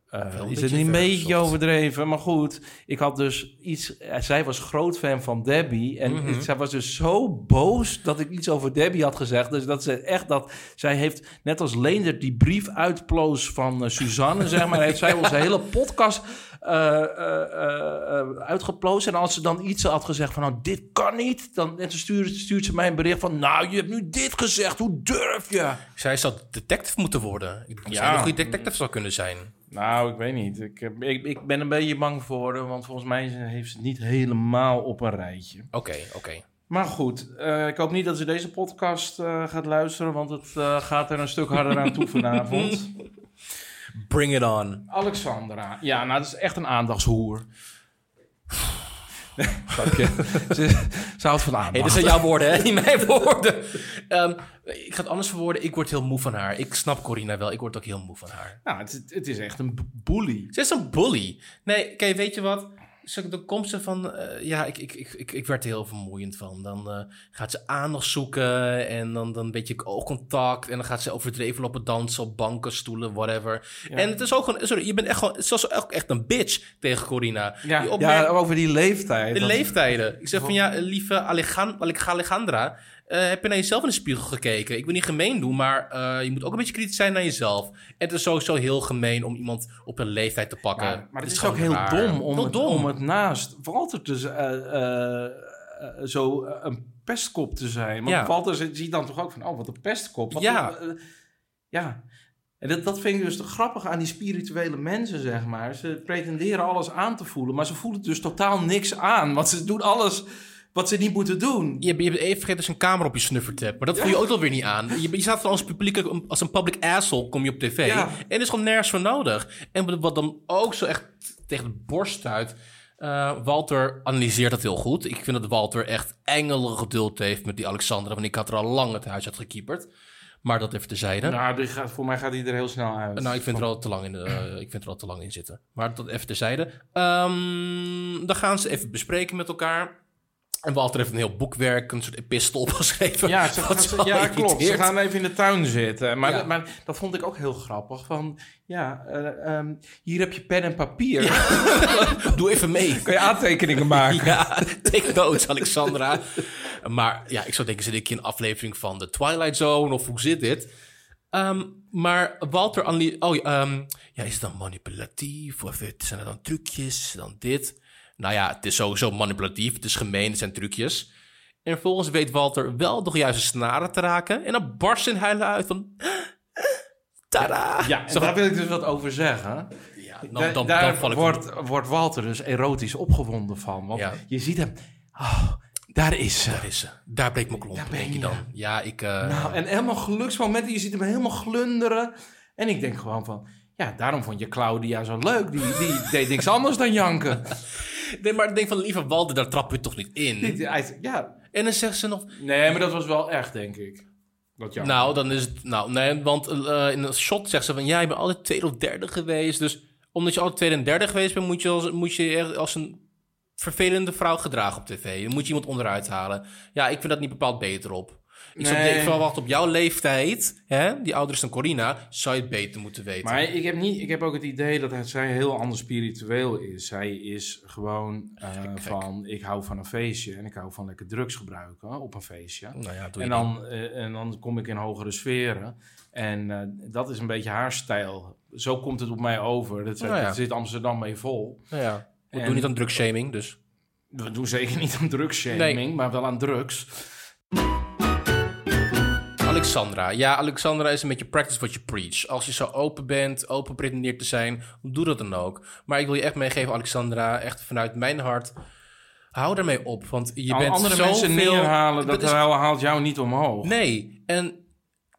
Speaker 1: eh,
Speaker 2: Wel een
Speaker 1: is
Speaker 2: beetje
Speaker 1: het niet een
Speaker 2: ver
Speaker 1: beetje
Speaker 2: gezocht.
Speaker 1: overdreven? Maar goed, ik had dus iets... eh, zij was groot fan van Debbie. En
Speaker 2: Mhm.
Speaker 1: ik- zij was dus zo boos dat ik iets over Debbie had gezegd. Dus dat ze echt dat... Zij heeft, net als Leendert, die brief uitploos van eh, Suzanne, zeg maar. Heeft zij onze hele podcast eh, eh, eh, eh, uitgeplozen. En als ze dan iets had gezegd van, nou, dit kan niet. Dan en ze stuurt, stuurt ze mij een bericht van, nou, je hebt nu dit gezegd. Hoe durf je?
Speaker 2: Zij zou detective moeten worden. Ik denk dat
Speaker 1: Ja.
Speaker 2: zij een goede detective zou kunnen zijn.
Speaker 1: Nou, ik weet niet. Ik, heb- ik, ik ben een beetje bang voor haar, want volgens mij heeft ze het niet helemaal op een rijtje.
Speaker 2: Oké, oké.
Speaker 1: Maar goed, eh, ik hoop niet dat ze deze podcast eh, gaat luisteren, want het eh, gaat er een stuk harder aan toe vanavond.
Speaker 2: Bring it on.
Speaker 1: Alexandra. Ja, nou, dat is echt een aandachtshoer. Grapje. ze, ze houdt van aandacht.
Speaker 2: Hey, dit zijn jouw woorden, hè? Niet mijn woorden. Ehm, ik ga het anders verwoorden. Ik word heel moe van haar. Ik snap Corina wel. Ik word ook heel moe van haar.
Speaker 1: Nou, het, het is echt een b- bully.
Speaker 2: Ze is een bully. Nee, kijk, weet je wat? Ze de komsten van... eh, ja, ik, ik, ik, ik, ik werd er heel vermoeiend van. Dan eh, gaat ze aandacht zoeken en dan, dan een beetje oogcontact. En dan gaat ze overdreven lopen dansen op banken, stoelen, whatever. En het is ook gewoon... Sorry, je bent echt gewoon... Ze was ook echt een bitch tegen Corina.
Speaker 1: Ja,
Speaker 2: Die opmerking-
Speaker 1: ja, over die leeftijd.
Speaker 2: de
Speaker 1: Dat-
Speaker 2: leeftijden. Ik zeg van ja, lieve Alegan- Alec- Alejandra, eh, heb je naar jezelf in de spiegel gekeken? Ik wil niet gemeen doen, maar eh, je moet ook een beetje kritisch zijn naar jezelf. En het is sowieso heel gemeen om iemand op een leeftijd te pakken.
Speaker 1: Ja, maar het is, ook
Speaker 2: gewoon
Speaker 1: heel
Speaker 2: raar.
Speaker 1: dom om,
Speaker 2: Heel
Speaker 1: het,
Speaker 2: dom.
Speaker 1: om het naast Walter dus, eh, eh, eh, zo eh, een pestkop te zijn. Want
Speaker 2: Ja.
Speaker 1: Walter zi- ziet dan toch ook van, oh, wat een pestkop. Wat
Speaker 2: Ja.
Speaker 1: een, eh, ja. En dat, dat vind ik dus grappig aan die spirituele mensen, zeg maar. Ze pretenderen alles aan te voelen, maar ze voelen dus totaal niks aan. Want ze doen alles wat ze niet moeten doen.
Speaker 2: Je, hebt- je hebt even vergeten dat je een camera op je snuffer hebt. Maar dat voel je ook alweer niet aan. Je, je staat als, publieke, als een public asshole kom je op tv.
Speaker 1: Ja.
Speaker 2: En er is gewoon nergens voor nodig. En wat- wat dan ook zo echt tegen de borst stuit. eh, Walter analyseert dat heel goed. Ik vind dat Walter echt engelen geduld heeft met die Alexandra. Want ik had er al lang het huis uit gekieperd. Maar dat even terzijde. Nou,
Speaker 1: Nou, die gaat, voor mij gaat die er heel snel uit.
Speaker 2: Eh, ik, vind er al te lang in, eh, ik vind er al te lang in zitten. Maar dat even terzijde. Ehm dan gaan ze even bespreken met elkaar. En Walter heeft een heel boekwerk, een soort epistel opgeschreven.
Speaker 1: Ja, ze,
Speaker 2: Wat
Speaker 1: gaan- ze-
Speaker 2: wel
Speaker 1: ja klopt. Ze
Speaker 2: irriteert.
Speaker 1: gaan even in de tuin zitten. Maar,
Speaker 2: Ja.
Speaker 1: maar dat vond ik ook heel grappig. Van, ja, eh, ehm, hier heb je pen en papier.
Speaker 2: Doe even mee.
Speaker 1: Kun je aantekeningen maken?
Speaker 2: Ja, take notes, Alexandra. Maar ja, ik zou denken, zit ik in een aflevering van The Twilight Zone of hoe zit dit? Ehm, maar Walter Anli... Oh, ja, ehm, ja, is het dan manipulatief? Of het- zijn er dan trucjes? Is het Dan dit? Nou ja, het is sowieso manipulatief. Het is gemeen, het zijn trucjes. En vervolgens weet Walter wel de juiste snaren te raken. En dan barst zijn huilen uit van... Tada!
Speaker 1: Ja, en
Speaker 2: Zo van,
Speaker 1: daar wil ik dus wat over zeggen.
Speaker 2: ja,
Speaker 1: Da-
Speaker 2: dan, dan,
Speaker 1: daar
Speaker 2: dan val ik
Speaker 1: wordt, wordt Walter dus erotisch opgewonden van. Want
Speaker 2: Ja.
Speaker 1: je ziet hem. Oh, daar is ze.
Speaker 2: Daar is ze. Daar breekt mijn klomp,
Speaker 1: Daar ben
Speaker 2: denk
Speaker 1: je,
Speaker 2: je dan. Ja, ik... eh,
Speaker 1: Nou, en helemaal geluksmomenten. Je ziet hem helemaal glunderen. En ik denk gewoon van... Ja, daarom vond je Claudia zo leuk. Die, die deed niks anders dan janken.
Speaker 2: Nee, maar ik denk van, lieve Walden, daar trap je toch niet in?
Speaker 1: Die- hij- Ja,
Speaker 2: En dan zegt ze nog...
Speaker 1: Nee, maar dat was wel echt, denk ik. Dat jammer.
Speaker 2: Nou, dan is het... Nou, nee, want eh, in een shot zegt ze van... Ja, je bent altijd tweede of derde geweest. Dus omdat je altijd tweede en derde geweest bent... moet je als, moet je echt als een vervelende vrouw gedragen op tv. Dan moet je iemand onderuit halen. Ja, ik vind dat niet bepaald beter op. Ik zou
Speaker 1: Nee.
Speaker 2: denken van, wacht, op jouw leeftijd, hè, die ouder is dan Corina, zou je het beter moeten weten.
Speaker 1: Maar ik heb, niet, ik heb ook het idee dat hij, zij heel anders spiritueel is. Zij is gewoon eh, van, ik hou van een feestje en ik hou van lekker drugs gebruiken op een feestje.
Speaker 2: nou ja, doe
Speaker 1: En
Speaker 2: je niet.
Speaker 1: dan, eh, en dan kom ik in hogere sferen. En eh, dat is een beetje haar stijl. Zo komt het op mij over. Dat,
Speaker 2: Nou ja.
Speaker 1: dat zit Amsterdam mee vol.
Speaker 2: Nou ja, we
Speaker 1: En-
Speaker 2: doen niet aan drugshaming, dus.
Speaker 1: We doen zeker niet aan drugsshaming,
Speaker 2: Nee.
Speaker 1: maar wel aan drugs.
Speaker 2: Alexandra. Ja, Alexandra is een beetje practice what you preach. Als je zo open bent, open pretendeert te zijn, doe dat dan ook. Maar ik wil je echt meegeven, Alexandra, echt vanuit mijn hart. Hou daarmee op, want je
Speaker 1: Aan
Speaker 2: bent
Speaker 1: andere
Speaker 2: zoveel...
Speaker 1: mensen neerhalen, dat
Speaker 2: is-
Speaker 1: haalt jou niet omhoog.
Speaker 2: Nee, en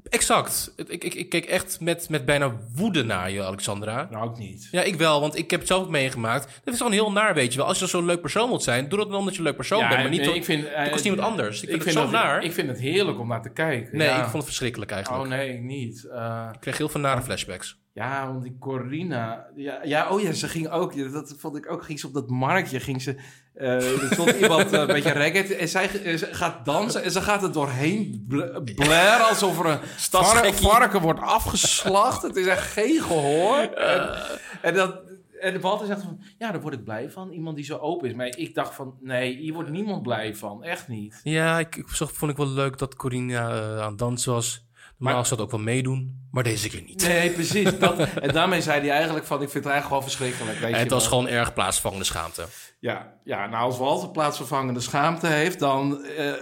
Speaker 2: exact. Ik, ik, ik keek echt met, met bijna woede naar je, Alexandra.
Speaker 1: Nou, ook niet.
Speaker 2: Ja, ik wel, want ik heb het zelf ook meegemaakt. Dat is gewoon heel naar, weet je wel. Als je zo'n leuk persoon wilt zijn, doe dat dan omdat je een leuk persoon bent. Maar niet
Speaker 1: nee,
Speaker 2: dat-
Speaker 1: ik vind, eh,
Speaker 2: kost iemand anders. Ik vind het
Speaker 1: dat,
Speaker 2: zo naar.
Speaker 1: Ik vind het heerlijk om naar te kijken.
Speaker 2: Nee,
Speaker 1: ja.
Speaker 2: ik vond het verschrikkelijk eigenlijk.
Speaker 1: Oh nee, ik niet. Eh,
Speaker 2: Ik kreeg heel veel nare flashbacks.
Speaker 1: ja, want die Corina... Ja, ja, oh ja, ze ging ook... ja, Dat vond ik ook. Ging ze op dat marktje, ging ze... eh, er stond iemand eh, een beetje reggae en zij eh, ze gaat dansen en ze gaat er doorheen bl- blaren alsof er een varken,
Speaker 2: Stadsgekkie.
Speaker 1: varken wordt afgeslacht. Het is echt geen gehoor. En, en dat... En de Walter zegt van, ja, daar word ik blij van. Iemand die zo open is. Maar ik dacht van, nee, hier wordt niemand blij van. Echt niet.
Speaker 2: Ja, ik, ik zag- vond ik wel leuk dat Corina eh, aan het dansen was. Normaal
Speaker 1: Maar-
Speaker 2: zou dat ook wel meedoen, maar deze keer niet.
Speaker 1: Nee, precies. Dat, en daarmee zei hij eigenlijk van, ik vind het eigenlijk gewoon verschrikkelijk. Weet
Speaker 2: En
Speaker 1: je
Speaker 2: het was
Speaker 1: wel.
Speaker 2: gewoon erg plaatsvangende schaamte.
Speaker 1: Ja, ja, nou als Walter plaatsvervangende schaamte heeft, dan, eh,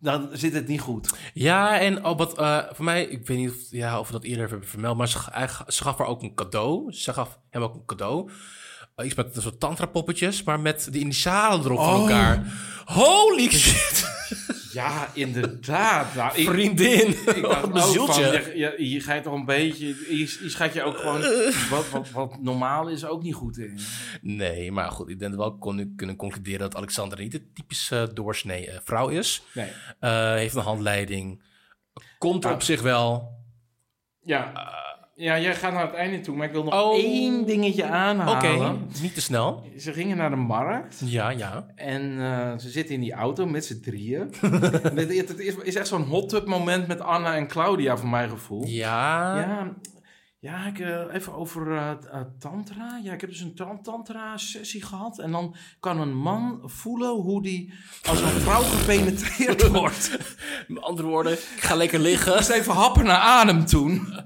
Speaker 1: dan zit het niet goed.
Speaker 2: Ja, en oh, wat, eh, voor mij, ik weet niet of, ja, of we dat eerder hebben vermeld, maar ze, ga- hij ga- ze gaf haar ook een cadeau. Ze gaf hem ook een cadeau. Eh, iets met een soort tantra-poppetjes, maar met de initialen erop van
Speaker 1: Oh.
Speaker 2: elkaar. Holy shit!
Speaker 1: Ja, inderdaad. Nou, ik,
Speaker 2: Vriendin!
Speaker 1: ik
Speaker 2: wat
Speaker 1: dacht
Speaker 2: een
Speaker 1: ook van,
Speaker 2: bezieltje.
Speaker 1: je, je, je gaat toch een beetje, je, je schat je ook gewoon, wat, wat, wat normaal is, ook niet goed in.
Speaker 2: Nee, maar goed, ik denk dat we wel kon, kunnen concluderen dat Alexandra niet de typische doorsnee eh, vrouw is.
Speaker 1: Nee.
Speaker 2: Eh, heeft een handleiding. Komt er
Speaker 1: Ah.
Speaker 2: op zich wel.
Speaker 1: Ja. Eh, ja, jij gaat naar het einde toe, maar ik wil nog
Speaker 2: Oh.
Speaker 1: één dingetje
Speaker 2: Oké,
Speaker 1: aanhalen.
Speaker 2: niet te snel.
Speaker 1: Ze gingen naar de markt.
Speaker 2: Ja, ja.
Speaker 1: En eh, ze zitten in die auto met z'n drieën. En het, het is, is echt zo'n hot tub moment met Anna en Claudia, voor mijn gevoel.
Speaker 2: Ja.
Speaker 1: Ja, ja ik, eh, even over eh, t- eh, tantra. Ja, ik heb dus een tan- tantra-sessie gehad. En dan kan een man voelen hoe die als een vrouw gepenetreerd wordt.
Speaker 2: Met andere woorden, ik ga lekker liggen.
Speaker 1: Moest even happen naar adem toen.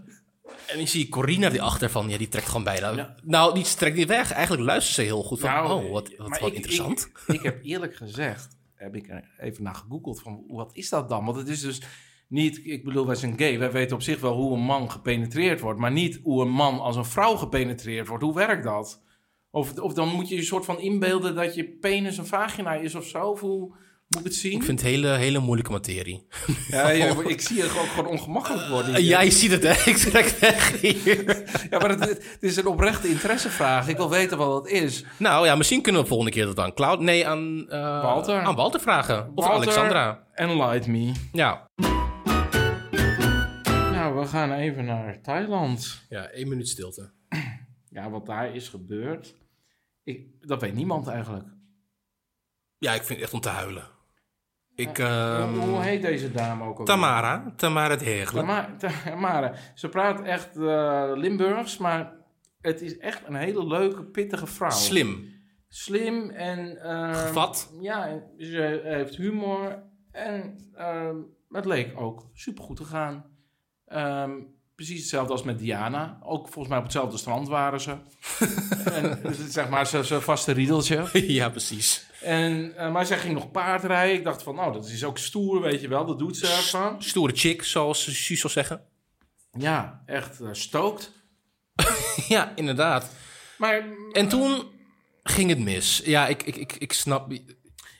Speaker 2: En ik zie Corina die achter van, ja, die trekt gewoon bijna.
Speaker 1: Ja.
Speaker 2: Nou, die trekt niet weg. Eigenlijk luistert ze heel goed van,
Speaker 1: Nou,
Speaker 2: oh, wat,
Speaker 1: maar
Speaker 2: wat, wat
Speaker 1: ik-
Speaker 2: interessant.
Speaker 1: Ik, ik heb eerlijk gezegd, heb ik er even naar gegoogeld van wat is dat dan? Want het is dus niet, ik bedoel, wij zijn gay. Wij weten op zich wel hoe een man gepenetreerd wordt, maar niet hoe een man als een vrouw gepenetreerd wordt. Hoe werkt dat? Of, of dan moet je je soort van inbeelden dat je penis een vagina is of zo. Of hoe moet ik het zien?
Speaker 2: ik vind het hele, hele moeilijke materie.
Speaker 1: Ja, ja, ik zie het ook gewoon ongemakkelijk worden. hier.
Speaker 2: Ja, je ziet het, hè? Ik trek weg hier.
Speaker 1: Ja, maar het, het is een oprechte interessevraag. Ik wil weten wat dat is.
Speaker 2: Nou ja, misschien kunnen we volgende keer dat aan Cloud... Nee, aan... eh,
Speaker 1: Walter.
Speaker 2: Aan Walter vragen. Of
Speaker 1: Walter,
Speaker 2: Alexandra.
Speaker 1: Enlight me.
Speaker 2: Ja.
Speaker 1: Nou, we gaan even naar Thailand.
Speaker 2: Ja, één minuut stilte.
Speaker 1: Ja, wat daar is gebeurd, ik, dat weet niemand eigenlijk.
Speaker 2: Ja, ik vind het echt om te huilen. Ik,
Speaker 1: Hoe-
Speaker 2: ehm,
Speaker 1: Hoe heet deze dame ook alweer?
Speaker 2: Tamara, Tamara het Heegelen.
Speaker 1: Tama- Tamara. Ze praat echt eh, Limburgs, maar het is echt een hele leuke, pittige vrouw.
Speaker 2: Slim.
Speaker 1: Slim en... ehm,
Speaker 2: Gevat.
Speaker 1: Ja, en ze heeft humor en ehm, het leek ook supergoed te gaan. Ehm, precies hetzelfde als met Diana. Ook volgens mij op hetzelfde strand waren ze. en, dus het is zeg maar zo- zo'n vaste riedeltje.
Speaker 2: ja, precies.
Speaker 1: En, eh, maar zij ging nog paardrijden. Ik dacht van, nou, dat is ook stoer, weet je wel. Dat doet ze ervan.
Speaker 2: Stoere chick, zoals Suus zou zeggen.
Speaker 1: Ja, echt eh, stookt.
Speaker 2: ja, inderdaad.
Speaker 1: Maar
Speaker 2: En toen ging het mis. Ja, ik, ik, ik, ik snap...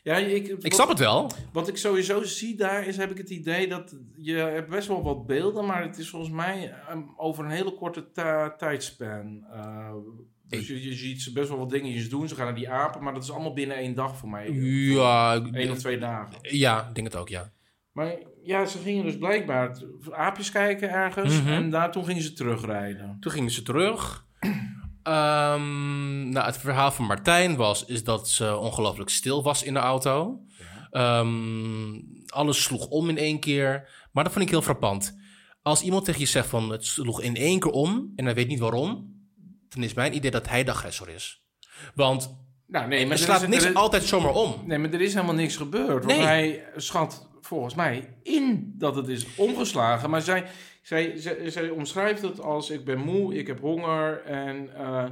Speaker 1: ja, ik,
Speaker 2: Ik snap het wel.
Speaker 1: Wat, wat ik sowieso zie daar is, heb ik het idee dat... Je hebt best wel wat beelden, maar het is volgens mij ehm, over een hele korte ta- tijdspan. Eh, dus je, je ziet ze best wel wat dingetjes doen. Ze gaan naar die apen, maar dat is allemaal binnen één dag voor mij.
Speaker 2: Ja, ik
Speaker 1: Eén
Speaker 2: denk-
Speaker 1: of twee dagen.
Speaker 2: ja, ik denk het ook, ja.
Speaker 1: Maar ja, ze gingen dus blijkbaar t- aapjes kijken ergens.
Speaker 2: Mhm.
Speaker 1: En daar, toen gingen ze terugrijden.
Speaker 2: Toen gingen ze terug. Ehm, nou, het verhaal van Martijn was is dat ze ongelooflijk stil was in de auto. Ehm, alles sloeg om in één keer. Maar dat vond ik heel frappant. Als iemand tegen je zegt van het sloeg in één keer om en hij weet niet waarom, dan is mijn idee dat hij de agressor is. Want
Speaker 1: Nou, nee,
Speaker 2: er
Speaker 1: er
Speaker 2: slaat
Speaker 1: is-
Speaker 2: niks
Speaker 1: er is-
Speaker 2: altijd zomaar om.
Speaker 1: Nee, maar er is helemaal niks gebeurd.
Speaker 2: Nee.
Speaker 1: Want hij schat volgens mij in dat het is omgeslagen. Maar zij, zij, zij, zij omschrijft het als ik ben moe, ik heb honger. En eh,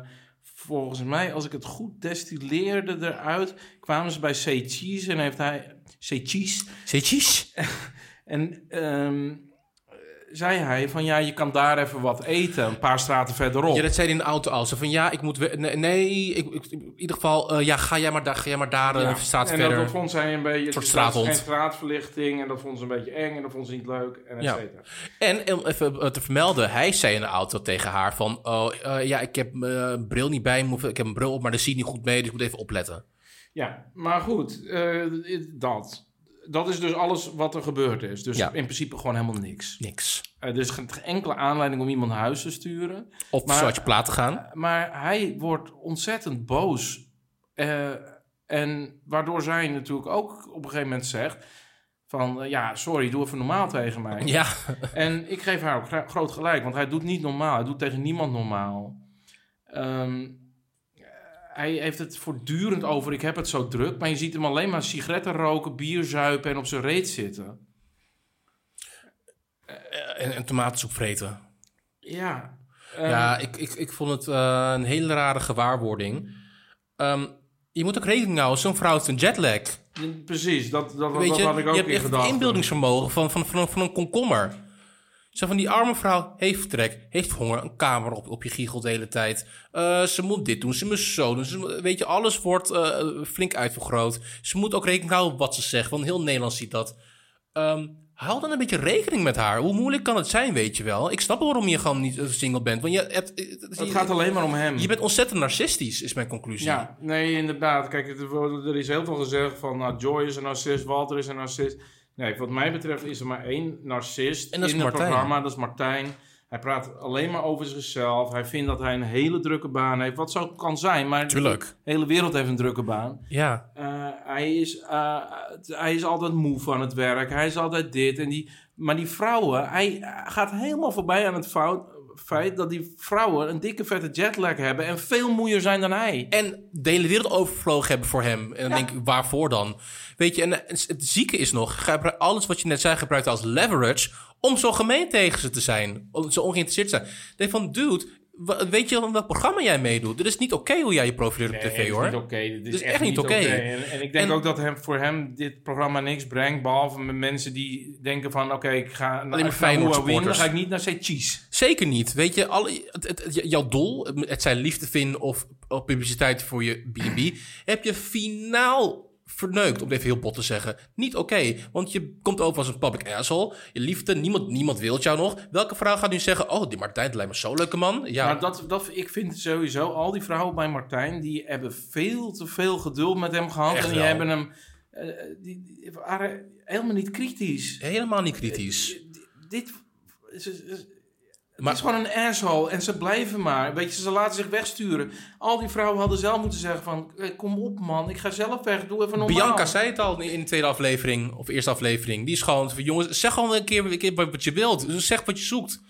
Speaker 1: volgens mij, als ik het goed destilleerde eruit, kwamen ze bij C. Cheese en heeft hij... C. Cheese.
Speaker 2: Zitjes?
Speaker 1: En ehm, zei hij van ja, je kan daar even wat eten, een paar straten verderop.
Speaker 2: Ja, dat zei hij in de auto al. Zo van ja, ik moet... we- Nee, nee, ik, ik- in ieder geval, eh, ja, ga jij maar daar, ga jij maar daar eh,
Speaker 1: Ja.
Speaker 2: straat
Speaker 1: en dat-
Speaker 2: verder.
Speaker 1: dat vond zij een beetje...
Speaker 2: soort
Speaker 1: er was
Speaker 2: straathond.
Speaker 1: Geen straatverlichting en dat vond ze een beetje eng en dat vond ze niet leuk en et
Speaker 2: Ja.
Speaker 1: cetera.
Speaker 2: En om even eh, te vermelden, hij zei in de auto tegen haar van... Oh, eh, ja, ik heb mijn bril niet bij me, of ik heb mijn bril op, maar daar zie ik niet goed mee, dus ik moet even opletten.
Speaker 1: Ja, maar goed, eh, dat. Dat is dus alles wat er gebeurd is. Dus
Speaker 2: Ja.
Speaker 1: in principe gewoon helemaal niks.
Speaker 2: Niks.
Speaker 1: Eh, er is geen geen enkele aanleiding om iemand naar huis te sturen.
Speaker 2: Of
Speaker 1: Maar-
Speaker 2: zo uit je plaat te gaan.
Speaker 1: Maar hij wordt ontzettend boos. Eh, en waardoor zij natuurlijk ook op een gegeven moment zegt... van eh, ja, sorry, doe even normaal tegen mij.
Speaker 2: Ja,
Speaker 1: En ik geef haar ook gra- groot gelijk, want hij doet niet normaal. Hij doet tegen niemand normaal. Ehm, hij heeft het voortdurend over, ik heb het zo druk. Maar je ziet hem alleen maar sigaretten roken, bier zuipen en op zijn reet zitten.
Speaker 2: en, en tomatensoep vreten.
Speaker 1: Ja. Ehm,
Speaker 2: ja, ik, ik, ik vond het eh, een hele rare gewaarwording. Ehm, je moet ook rekening houden, zo'n vrouw heeft een jetlag.
Speaker 1: Precies, dat, dat, dat,
Speaker 2: Weet je,
Speaker 1: had ik ook
Speaker 2: je hebt
Speaker 1: in
Speaker 2: echt het
Speaker 1: gedachten.
Speaker 2: inbeeldingsvermogen van, van, van, van een komkommer. Zo van die arme vrouw heeft trek, heeft honger, een kamer op, op je giegel de hele tijd. Eh, ze moet dit doen, ze moet zo doen. Ze, moet- weet je, alles wordt eh, flink uitvergroot. Ze moet ook rekening houden op wat ze zegt, want heel Nederland ziet dat. Ehm, hou dan een beetje rekening met haar. Hoe moeilijk kan het zijn, weet je wel? Ik snap wel waarom je gewoon niet eh, single bent. Want je, hebt, eh,
Speaker 1: Het
Speaker 2: je,
Speaker 1: gaat alleen maar om hem.
Speaker 2: je bent ontzettend narcistisch, is mijn conclusie.
Speaker 1: Ja, nee, inderdaad. Kijk, het- er is heel veel gezegd van nou, Joy is een narcist, Walter is een narcist. Nee, wat mij betreft is er maar één narcist
Speaker 2: En dat is
Speaker 1: in het
Speaker 2: Martijn.
Speaker 1: programma, dat is Martijn. Hij praat alleen maar over zichzelf. Hij vindt dat hij een hele drukke baan heeft, wat zo kan zijn, maar
Speaker 2: Tuurlijk.
Speaker 1: de hele wereld heeft een drukke baan.
Speaker 2: Ja.
Speaker 1: Eh, hij, is, eh, t- hij is altijd moe van het werk, hij is altijd dit en die. Maar die vrouwen, hij eh, gaat helemaal voorbij aan het fout, feit dat die vrouwen een dikke vette jetlag hebben en veel moeier zijn dan hij.
Speaker 2: En de hele wereld overvlogen hebben voor hem. En dan denk ik, waarvoor dan? Weet je, en eh, het het zieke is nog, gebru- alles wat je net zei gebruikt als leverage om zo gemeen tegen ze te zijn. Om zo ongeïnteresseerd te zijn. Ik Denk van, dude, wa- weet je wel in welk programma jij meedoet? Dit is niet oké hoe jij je profileert op
Speaker 1: Nee,
Speaker 2: tv,
Speaker 1: dit
Speaker 2: hoor.
Speaker 1: is niet oké. Dit is,
Speaker 2: is
Speaker 1: echt, niet oké. En, en ik denk
Speaker 2: En-
Speaker 1: ook dat hem, voor hem dit programma niks brengt. Behalve met mensen die denken van... Oké, ik ga naar,
Speaker 2: maar
Speaker 1: ik ga naar
Speaker 2: Feyenoord
Speaker 1: Huawei, Dan
Speaker 2: supporters.
Speaker 1: ga ik niet naar C-Cheese.
Speaker 2: Zeker niet. Weet je, alle, het, het- het- jouw doel, het zijn liefde vinden of, of publiciteit voor je B&B, heb je finaal verneukt, om het even heel bot te zeggen. Niet oké, want je komt over als een public asshole. Je liefde, niemand, niemand wil jou nog. Welke vrouw gaat nu zeggen, oh, die Martijn het lijkt me zo'n leuke man. Ja,
Speaker 1: Maar dat, dat, ik vind sowieso... Al die vrouwen bij Martijn... Die hebben veel te veel geduld met hem gehad.
Speaker 2: Echt
Speaker 1: en die
Speaker 2: wel.
Speaker 1: hebben hem... eh, die, die waren helemaal niet kritisch.
Speaker 2: helemaal niet kritisch.
Speaker 1: D- Dit... ze- ze-
Speaker 2: Maar-
Speaker 1: het is gewoon een asshole en ze blijven maar. Weet je, ze laten zich wegsturen. Al die vrouwen hadden zelf moeten zeggen van... eh, Kom op man, ik ga zelf weg, doe even normaal.
Speaker 2: Bianca zei het al in de tweede aflevering, of eerste aflevering. Die is gewoon van, jongens, zeg gewoon een keer, een keer wat je wilt. Dus Zeg wat je zoekt.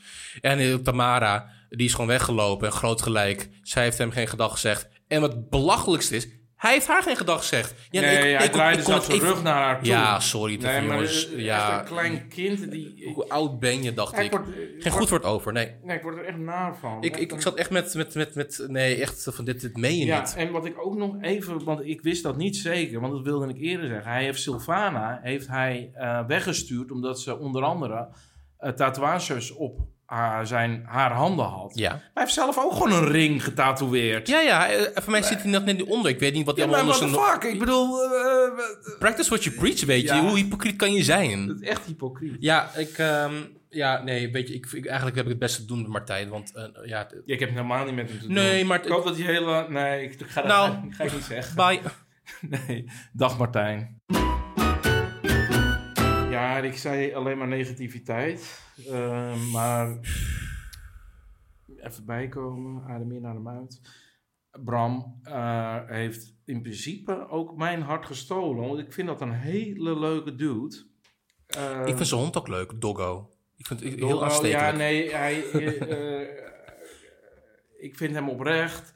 Speaker 2: En eh, Tamara, die is gewoon weggelopen en groot gelijk. Zij heeft hem geen gedag gezegd. En wat het belachelijkste is, hij heeft haar geen gedag gezegd. Ja,
Speaker 1: nee, hij
Speaker 2: kon-
Speaker 1: draaide
Speaker 2: kon
Speaker 1: zelfs
Speaker 2: het
Speaker 1: zijn
Speaker 2: even-
Speaker 1: rug naar haar toe.
Speaker 2: Ja, sorry,
Speaker 1: nee,
Speaker 2: nee,
Speaker 1: maar
Speaker 2: jongens.
Speaker 1: eh, echt
Speaker 2: Ja,
Speaker 1: een klein kind die...
Speaker 2: hoe oud ben je, dacht
Speaker 1: Ja, ik
Speaker 2: ik.
Speaker 1: word, eh,
Speaker 2: Geen goed woord over, nee.
Speaker 1: nee, ik word er echt naar van.
Speaker 2: Ik, ik, ik zat echt met, met, met, met, nee, echt van dit, dit meen je
Speaker 1: ja,
Speaker 2: niet.
Speaker 1: en wat ik ook nog even, want ik wist dat niet zeker, want dat wilde ik eerder zeggen. Hij heeft Sylvana heeft hij, eh, weggestuurd omdat ze onder andere eh, tatoeages op haar, zijn, haar handen had.
Speaker 2: Ja.
Speaker 1: Hij heeft zelf ook gewoon een ring getatoeëerd.
Speaker 2: Ja, ja, eh, voor mij zit hij net net onder. Ik weet niet wat hij
Speaker 1: Ja,
Speaker 2: allemaal
Speaker 1: maar what
Speaker 2: onder
Speaker 1: the
Speaker 2: zijn
Speaker 1: fuck? Ik bedoel, eh, eh,
Speaker 2: Practice what you preach, weet je.
Speaker 1: Ja.
Speaker 2: Hoe hypocriet kan je zijn?
Speaker 1: het is echt hypocriet.
Speaker 2: Ja, ik... ehm, ja, nee, weet je, ik, ik- eigenlijk heb ik het best te doen met Martijn, want... eh, ja, het-
Speaker 1: Ja, Ik heb helemaal niet met hem te doen.
Speaker 2: nee, maar...
Speaker 1: Ik hoop dat die hele... Nee, ik ga dat
Speaker 2: Nou.
Speaker 1: ga ik niet zeggen.
Speaker 2: Bye.
Speaker 1: Nee, dag Martijn. Ja, ik zei alleen maar negativiteit. Eh, maar even bijkomen, adem in, adem uit. Bram eh, heeft in principe ook mijn hart gestolen. Want ik vind dat een hele leuke dude.
Speaker 2: ik vind zijn hond ook leuk, Doggo. Ik vind het heel
Speaker 1: Doggo,
Speaker 2: aanstekelijk.
Speaker 1: Ja, nee, hij... eh, eh, ik vind hem oprecht.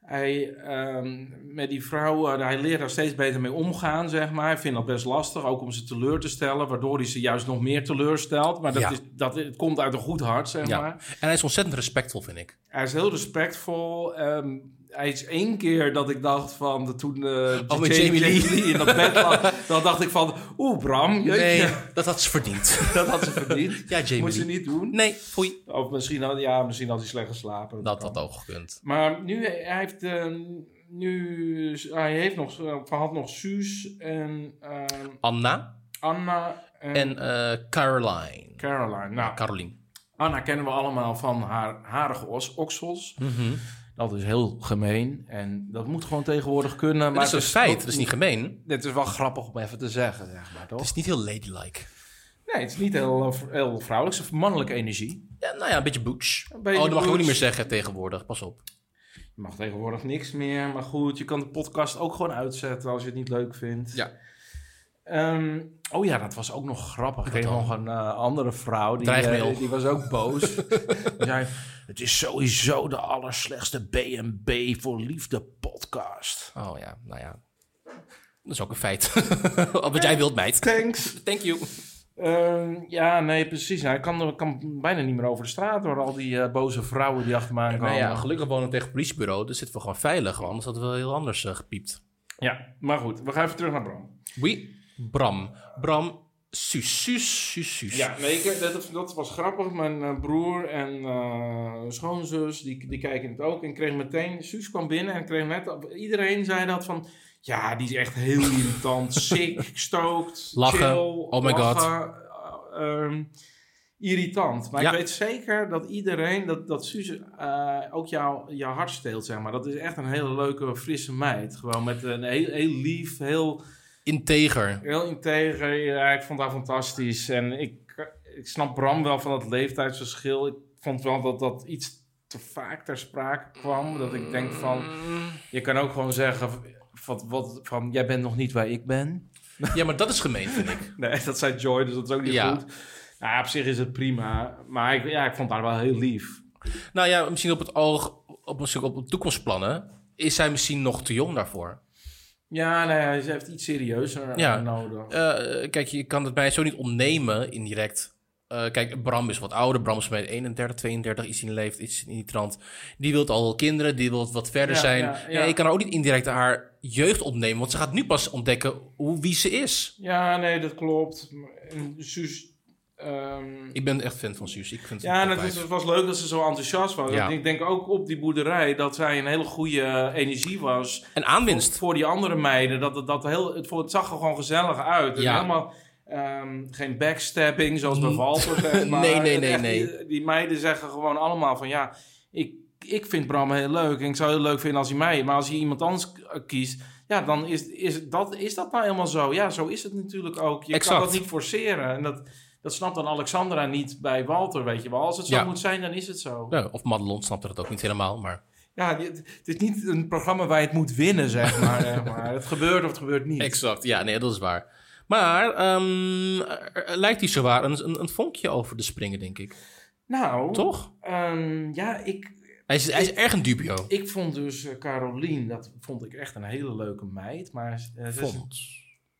Speaker 1: Hij, ehm, met die vrouw, eh, hij leert daar steeds beter mee omgaan, zeg maar. Hij vindt dat best lastig, ook om ze teleur te stellen, waardoor hij ze juist nog meer teleurstelt. Maar dat,
Speaker 2: Ja.
Speaker 1: is, dat het komt uit een goed hart, zeg
Speaker 2: Ja.
Speaker 1: maar.
Speaker 2: En hij is ontzettend respectvol, vind ik.
Speaker 1: Hij is heel respectvol. ehm, hij is één keer dat ik dacht van, dat toen eh,
Speaker 2: Oh, met Jamie Lee.
Speaker 1: in dat bed lag, dan dacht ik van, oeh Bram, jeetje,
Speaker 2: Nee, dat had ze verdiend.
Speaker 1: dat had ze verdiend.
Speaker 2: ja, Jamie
Speaker 1: Moet ze
Speaker 2: Lee.
Speaker 1: niet doen.
Speaker 2: Nee, foei.
Speaker 1: Of misschien had, ja, misschien had hij slecht geslapen.
Speaker 2: Dat had ook gekund.
Speaker 1: Maar nu, hij heeft, eh, nu, hij heeft nog, eh, of had nog Suus en ehm,
Speaker 2: Anna
Speaker 1: Anna en,
Speaker 2: en eh, Caroline.
Speaker 1: Caroline. Nou,
Speaker 2: Caroline.
Speaker 1: Anna kennen we allemaal van haar harige os- oksels. Mhm. Dat is heel gemeen en dat moet gewoon tegenwoordig kunnen. Maar
Speaker 2: dat is een
Speaker 1: het ook
Speaker 2: feit, dat is niet gemeen.
Speaker 1: Het is wel grappig om even te zeggen, zeg maar,
Speaker 2: Het
Speaker 1: toch?
Speaker 2: is niet heel ladylike.
Speaker 1: Nee, het is niet heel, eh, heel vrouwelijk. Het is mannelijke energie.
Speaker 2: Ja, nou ja, een beetje butch.
Speaker 1: Een
Speaker 2: oh,
Speaker 1: beetje
Speaker 2: dat mag ik ook
Speaker 1: butch.
Speaker 2: niet meer zeggen tegenwoordig. Pas op.
Speaker 1: Je mag tegenwoordig niks meer, maar goed, je kan de podcast ook gewoon uitzetten als je het niet leuk vindt.
Speaker 2: Ja.
Speaker 1: Ehm, oh ja, dat was ook nog grappig. Ik
Speaker 2: Wat
Speaker 1: weet
Speaker 2: dan?
Speaker 1: nog een eh, andere vrouw, die,
Speaker 2: Dreigmail.
Speaker 1: eh, die was ook boos. Die zei, het is sowieso de allerslechtste B&B voor liefde podcast.
Speaker 2: Oh ja, nou ja. Dat is ook een feit. Wat jij wilt, meid.
Speaker 1: Thanks.
Speaker 2: Thank you.
Speaker 1: Ehm, ja, nee, precies. Hij kan, kan bijna niet meer over de straat door al die eh, boze vrouwen die achter me aankomen.
Speaker 2: Nou ja, gelukkig wonen we tegen het politiebureau, dus zitten we gewoon veilig. Want anders hadden we heel anders eh, gepiept.
Speaker 1: Ja, maar goed, we gaan even terug naar Bram.
Speaker 2: Wie? Bram. Bram. Suus. Suus. Suus. Suus.
Speaker 1: Ja, nee, ik- dat, dat was grappig. Mijn eh, broer en eh, schoonzus, die, die kijken het ook. En kreeg meteen, Suus kwam binnen en kreeg net, iedereen zei dat van... Ja, die is echt heel irritant, sick, stookt,
Speaker 2: Lachen.
Speaker 1: chill,
Speaker 2: Oh my god.
Speaker 1: lachen, eh, ehm, irritant. Maar
Speaker 2: Ja.
Speaker 1: ik weet zeker dat iedereen, dat, dat Suus eh, ook jou, jouw hart steelt, zeg maar. Dat is echt een hele leuke, frisse meid. Gewoon met een heel, heel lief, heel...
Speaker 2: Integer.
Speaker 1: Heel integer. Ja, ik vond haar fantastisch. En ik, ik snap Bram wel van dat leeftijdsverschil. Ik vond wel dat dat iets te vaak ter sprake kwam. Dat ik denk van...
Speaker 2: Mm.
Speaker 1: Je kan ook gewoon zeggen... Wat, wat, van, jij bent nog niet waar ik ben.
Speaker 2: Ja, maar dat is gemeen, vind ik.
Speaker 1: Nee, dat zei Joy, dus dat is ook niet
Speaker 2: Ja.
Speaker 1: goed. Nou, ja, op zich is het prima. Maar ik, ja, ik vond haar wel heel lief.
Speaker 2: Nou ja, misschien op het oog, op, misschien op de toekomstplannen, is zij misschien nog te jong daarvoor.
Speaker 1: Ja, nee, ze heeft iets serieuzer
Speaker 2: Ja.
Speaker 1: nodig.
Speaker 2: Eh, kijk, je kan het mij zo niet ontnemen indirect. Eh, kijk, Bram is wat ouder. Bram is bij 31, 32, iets in die leeft, iets in die trant. Die wil al kinderen, die wil wat verder
Speaker 1: Ja,
Speaker 2: zijn.
Speaker 1: ja,
Speaker 2: Ja,
Speaker 1: ja.
Speaker 2: je kan haar ook niet indirect haar jeugd ontnemen, want ze gaat nu pas ontdekken hoe, wie ze is.
Speaker 1: Ja, nee, dat klopt. En Suus... ehm,
Speaker 2: Ik ben echt fan van Suus. Ik vind
Speaker 1: Ja, en
Speaker 2: het
Speaker 1: het,
Speaker 2: een
Speaker 1: is-
Speaker 2: topwijf.
Speaker 1: het was leuk dat ze zo enthousiast was.
Speaker 2: Ja.
Speaker 1: Ik denk ook op die boerderij dat zij een hele goede eh, energie was
Speaker 2: En aanwinst.
Speaker 1: voor die andere meiden. Dat, dat, dat heel, het, voor- het zag er gewoon gezellig uit. En
Speaker 2: Ja.
Speaker 1: Helemaal ehm, geen backstabbing zoals bij
Speaker 2: Mm.
Speaker 1: Walter. zeg maar.
Speaker 2: Nee, nee, nee,
Speaker 1: Echt,
Speaker 2: nee.
Speaker 1: Die, die meiden zeggen gewoon allemaal van ja, ik, ik vind Bram heel leuk. En ik zou het heel leuk vinden als hij mij. Maar als hij iemand anders k- eh, kiest, ja, dan is, is, dat, is dat nou helemaal zo. Ja, zo is het natuurlijk ook. Je
Speaker 2: Exact.
Speaker 1: kan dat niet forceren. En dat, dat snapt dan Alexandra niet bij Walter, weet je wel. Als het zo
Speaker 2: Ja.
Speaker 1: moet zijn, dan is het zo.
Speaker 2: Ja, of Madelon snapte dat ook niet helemaal, maar...
Speaker 1: Ja, dit- het is niet een programma waar je het moet winnen, zeg maar. zeg maar. Het gebeurt of het gebeurt niet.
Speaker 2: Exact, ja, nee, dat is waar. Maar ehm, er- er lijkt hij zowaar een, een, een vonkje over te springen, denk ik.
Speaker 1: Nou,
Speaker 2: Toch?
Speaker 1: ehm, ja, ik,
Speaker 2: Hij is, hij is erg een dubio.
Speaker 1: ik vond dus eh, Carolien, dat vond ik echt een hele leuke meid. Maar eh, ze is-
Speaker 2: Vond.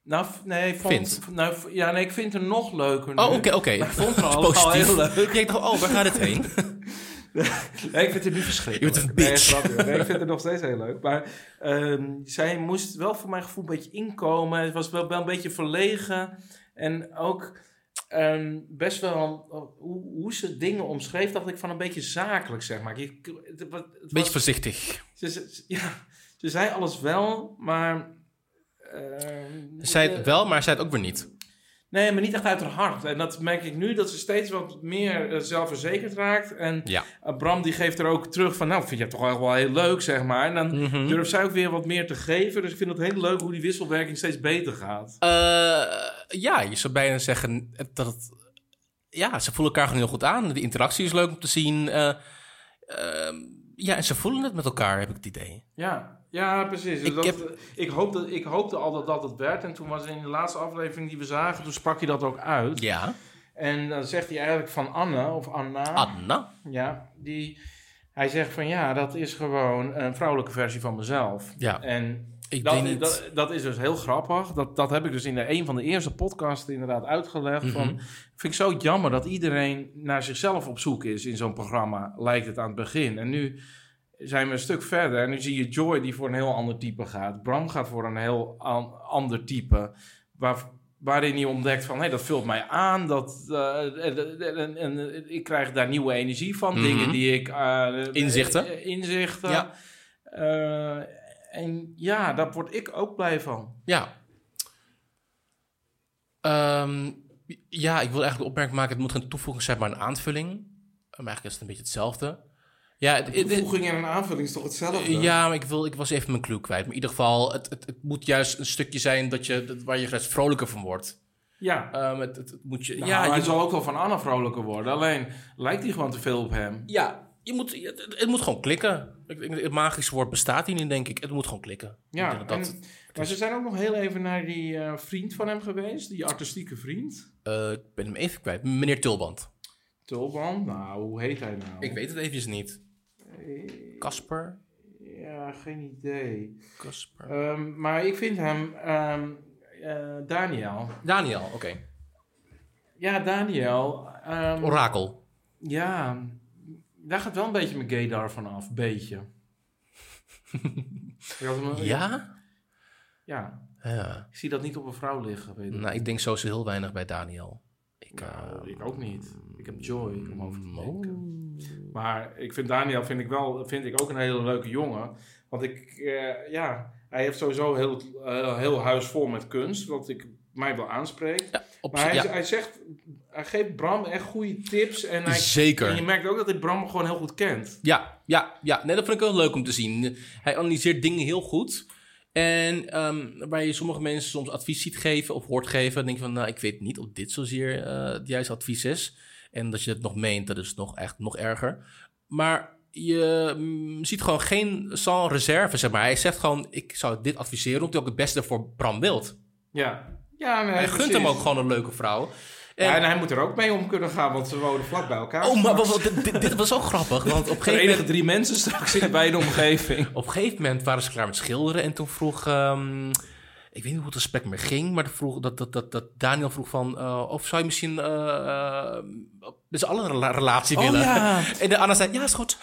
Speaker 1: nou, v- nee, vond,
Speaker 2: Vind.
Speaker 1: Nou, v- ja, nee, ik vind haar nog leuker. nu.
Speaker 2: Oh, oké, oké.
Speaker 1: Maar ik vond haar
Speaker 2: Dat is
Speaker 1: al, al
Speaker 2: Positief.
Speaker 1: heel leuk.
Speaker 2: Ja, ik dacht, oh, waar gaat het heen?
Speaker 1: Nee, ik vind het nu
Speaker 2: Je
Speaker 1: verschrikkelijk.
Speaker 2: bent een
Speaker 1: Nee,
Speaker 2: bitch.
Speaker 1: grapje. Nee, ik vind het nog steeds heel leuk. Maar ehm, zij moest wel voor mijn gevoel een beetje inkomen. Het was wel, wel een beetje verlegen. En ook ehm, best wel eh, hoe, hoe ze dingen omschreef, dacht ik van een beetje zakelijk, zeg maar. Je, het, het, het
Speaker 2: Beetje
Speaker 1: was,
Speaker 2: voorzichtig.
Speaker 1: ze, ze- ja, ze zei alles wel, maar. ehm,
Speaker 2: Zij
Speaker 1: eh,
Speaker 2: het wel, maar zij het ook weer niet.
Speaker 1: Nee, maar niet echt uit haar hart. En dat merk ik nu, dat ze steeds wat meer eh, zelfverzekerd raakt. En
Speaker 2: Ja.
Speaker 1: eh, Bram die geeft er ook terug van, nou vind je het toch echt wel heel leuk, zeg maar. En dan
Speaker 2: Mhm.
Speaker 1: durft zij ook weer wat meer te geven. Dus ik vind het heel leuk hoe die wisselwerking steeds beter gaat.
Speaker 2: Eh, ja, je zou bijna zeggen dat het... Ja, ze voelen elkaar gewoon heel goed aan. De interactie is leuk om te zien. Eh, ehm, Ja, en ze voelen het met elkaar, heb ik het idee.
Speaker 1: Ja, ja precies. Dus
Speaker 2: Ik
Speaker 1: dat-
Speaker 2: heb-
Speaker 1: ik, hoopte, ik hoopte al dat dat het werd. En toen was het in de laatste aflevering die we zagen, toen sprak hij dat ook uit.
Speaker 2: Ja.
Speaker 1: En dan zegt hij eigenlijk van Anne, of Anna.
Speaker 2: Anna.
Speaker 1: Ja, die, hij zegt van ja, dat is gewoon een vrouwelijke versie van mezelf.
Speaker 2: Ja,
Speaker 1: En
Speaker 2: ik
Speaker 1: dat,
Speaker 2: denk niet.
Speaker 1: dat, dat is dus heel grappig. Dat, dat heb ik dus in de, een van de eerste podcasts inderdaad uitgelegd.
Speaker 2: Mhm.
Speaker 1: van, vind ik zo jammer dat iedereen naar zichzelf op zoek is in zo'n programma, lijkt het aan het begin. En nu zijn we een stuk verder en nu zie je Joy die voor een heel ander type gaat. Bram gaat voor een heel an- ander type. Waar, waarin hij ontdekt van, hé, dat vult mij aan. Dat, eh, en, en- en- en ik krijg daar nieuwe energie van.
Speaker 2: Mhm.
Speaker 1: Dingen die ik... eh,
Speaker 2: Inzichten.
Speaker 1: eh, Inzichten.
Speaker 2: Ja.
Speaker 1: Eh, en ja, daar word ik ook blij van.
Speaker 2: Ja. Ehm, ja, ik wil eigenlijk de opmerking maken: het moet geen toevoeging zijn, maar een aanvulling. Maar eigenlijk is het een beetje hetzelfde. Ja, het, het- het-
Speaker 1: Toevoeging en een aanvulling is toch hetzelfde?
Speaker 2: ja maar ik, wil, ik was even mijn clue kwijt. Maar in ieder geval, het, het, het moet juist een stukje zijn dat je, dat- waar je juist vrolijker van wordt.
Speaker 1: ja.
Speaker 2: Ehm, het, het, het moet je,
Speaker 1: Nou,
Speaker 2: ja,
Speaker 1: hij
Speaker 2: je,
Speaker 1: zal ook wel van Anna vrolijker worden. Alleen lijkt hij gewoon te veel op hem.
Speaker 2: ja je moet, het, het- het moet gewoon klikken. Ik denk, Het magische woord bestaat hier niet, denk ik. Het moet gewoon klikken.
Speaker 1: Ja,
Speaker 2: Ik denk dat,
Speaker 1: en- Maar ze zijn ook nog heel even naar die eh, vriend van hem geweest. Die artistieke vriend.
Speaker 2: eh, ik ben hem even kwijt. Meneer Tulband.
Speaker 1: Tulban. Nou, hoe heet hij nou?
Speaker 2: Ik weet het eventjes niet. Casper?
Speaker 1: Ja, geen idee.
Speaker 2: Casper.
Speaker 1: Ehm, maar ik vind hem... ehm, eh, Daniel.
Speaker 2: Daniel, oké.
Speaker 1: Ja, Daniel. ehm,
Speaker 2: Orakel.
Speaker 1: ja, daar gaat wel een beetje mijn gaydar van af. Beetje. Ik had hem-
Speaker 2: Ja?
Speaker 1: Ja,
Speaker 2: Ja.
Speaker 1: ik zie dat niet op een vrouw liggen. Weet ik.
Speaker 2: Nou, ik denk sowieso heel weinig bij Daniel. Ik,
Speaker 1: Nou,
Speaker 2: eh,
Speaker 1: ik ook niet. Ik heb joy om over te
Speaker 2: mm,
Speaker 1: denken. Maar ik vind Daniel vind ik wel, vind ik ook een hele leuke jongen. Want ik, eh, ja, hij heeft sowieso heel, eh, heel huis vol met kunst. Wat ik, mij wel aanspreekt.
Speaker 2: Ja, op,
Speaker 1: Maar hij,
Speaker 2: ja,
Speaker 1: hij zegt, hij geeft Bram echt goede tips. En, hij, en je
Speaker 2: zeker.
Speaker 1: merkt ook dat hij Bram gewoon heel goed kent.
Speaker 2: Ja, ja, ja. Nee, dat vind ik heel leuk om te zien. Hij analyseert dingen heel goed. En ehm, waar je sommige mensen soms advies ziet geven of hoort geven, dan denk je van, nou, ik weet niet of dit zozeer eh, het juiste advies is. En dat je het nog meent, dat is nog echt nog erger. Maar je mm, ziet gewoon geen sans reserve, zeg maar. Hij zegt gewoon, ik zou dit adviseren, omdat hij ook het beste voor Bram wilt.
Speaker 1: Ja, ja nee,
Speaker 2: Hij gunt
Speaker 1: precies.
Speaker 2: hem ook gewoon een leuke vrouw. En,
Speaker 1: Ja, en hij moet er ook mee om kunnen gaan, want ze wonen vlak bij elkaar.
Speaker 2: oh, maar wat- wat- dit, dit was ook grappig. Want op een,
Speaker 1: de
Speaker 2: gegeven
Speaker 1: enige
Speaker 2: moment,
Speaker 1: drie mensen straks in bij de omgeving.
Speaker 2: op een gegeven moment waren ze klaar met schilderen. En toen vroeg... ehm, ik weet niet hoe het gesprek meer ging, maar vroeg, dat, dat, dat, dat Daniel vroeg van... eh, of zou je misschien eh eh, met z'n allen een rela- relatie willen?
Speaker 1: Oh, ja.
Speaker 2: En de Anna zei, ja, is goed.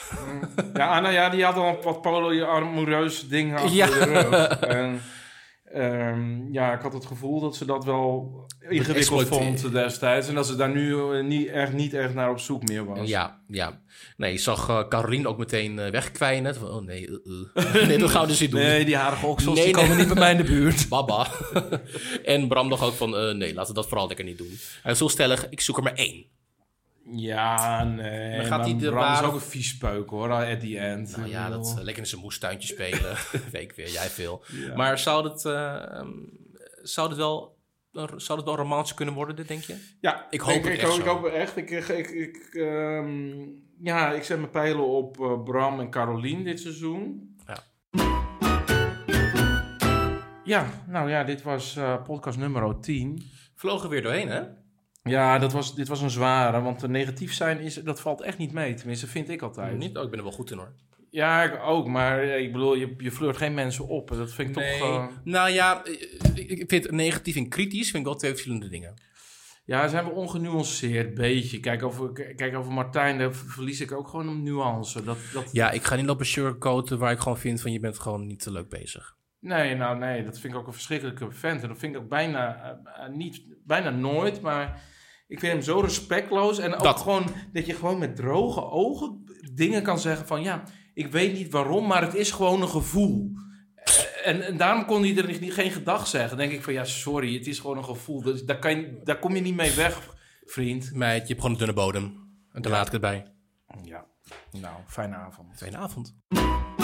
Speaker 1: Ja, Anna, ja, die had al wat polo-amoureus dingen achter
Speaker 2: Ja.
Speaker 1: de rug. En, ehm, ja, ik had het gevoel dat ze dat wel ingewikkeld
Speaker 2: Exploiteer-
Speaker 1: vond destijds. En dat ze daar nu eh, niet echt, niet echt naar op zoek meer was.
Speaker 2: Ja, ja. Nee, je zag eh Caroline ook meteen eh, wegkwijnen. Van, oh nee, eh, eh. nee, dat gaan we dus niet doen.
Speaker 1: Nee, die harige oksels
Speaker 2: Nee,
Speaker 1: die
Speaker 2: nee.
Speaker 1: komen niet bij mij in de buurt.
Speaker 2: Baba. en Bram dacht ook van, eh, nee, laten we dat vooral lekker niet doen. Hij was zo stellig, ik zoek er maar één.
Speaker 1: Ja, nee.
Speaker 2: Maar gaat
Speaker 1: maar
Speaker 2: die de
Speaker 1: Bram is
Speaker 2: ware-
Speaker 1: ook een vies peuk hoor, at the end.
Speaker 2: Nou ja,
Speaker 1: Ik
Speaker 2: dat
Speaker 1: bedoel,
Speaker 2: eh, lekker in zijn moestuintje spelen. Weet ik weer, jij veel.
Speaker 1: ja.
Speaker 2: Maar zou dat, eh, ehm, zou, dat wel, zou dat wel romantisch kunnen worden, dit denk je?
Speaker 1: Ja,
Speaker 2: Ik hoop
Speaker 1: ik,
Speaker 2: het
Speaker 1: ik,
Speaker 2: echt
Speaker 1: hoop-
Speaker 2: zo.
Speaker 1: ik hoop het echt. Ik, ik, ik, ik, ehm, ja, ik zet mijn pijlen op eh, Bram en Carolien dit seizoen.
Speaker 2: Ja.
Speaker 1: Ja, nou ja, dit was eh, podcast nummer 10.
Speaker 2: Vlogen weer doorheen, hè?
Speaker 1: Ja, dat was, dit was een zware, want eh, negatief zijn, is, dat valt echt niet mee. Tenminste, vind ik altijd.
Speaker 2: Niet? Oh, ik ben er wel goed in, hoor.
Speaker 1: Ja, ik ook, maar eh, ik bedoel, je, je flirt geen mensen op. Dat vind ik toch... eh,
Speaker 2: Nou ja, eh, ik ik vind negatief en kritisch vind ik wel twee verschillende dingen.
Speaker 1: Ja, zijn we ongenuanceerd, beetje. Kijk over, k- kijk, over Martijn, daar v- verlies ik ook gewoon een nuance. Dat, dat,
Speaker 2: Ja, ik ga niet lopen sugarcoaten waar ik gewoon vind van je bent gewoon niet te leuk bezig.
Speaker 1: Nee, nou nee, dat vind ik ook een verschrikkelijke vent. En dat vind ik ook bijna, eh, eh, niet, bijna nooit, maar ik vind hem zo respectloos. En ook
Speaker 2: Dat.
Speaker 1: gewoon dat je gewoon met droge ogen dingen kan zeggen van... ja, ik weet niet waarom, maar het is gewoon een gevoel. Eh, En, en daarom kon hij er niet- niet- geen gedag zeggen. Dan denk ik van, ja, sorry, het is gewoon een gevoel. Dus daar, kan je, daar kom je niet mee weg, vriend.
Speaker 2: Meid, je hebt gewoon een dunne bodem. En daar laat ik het bij.
Speaker 1: Ja, nou, fijne avond.
Speaker 2: Fijne avond.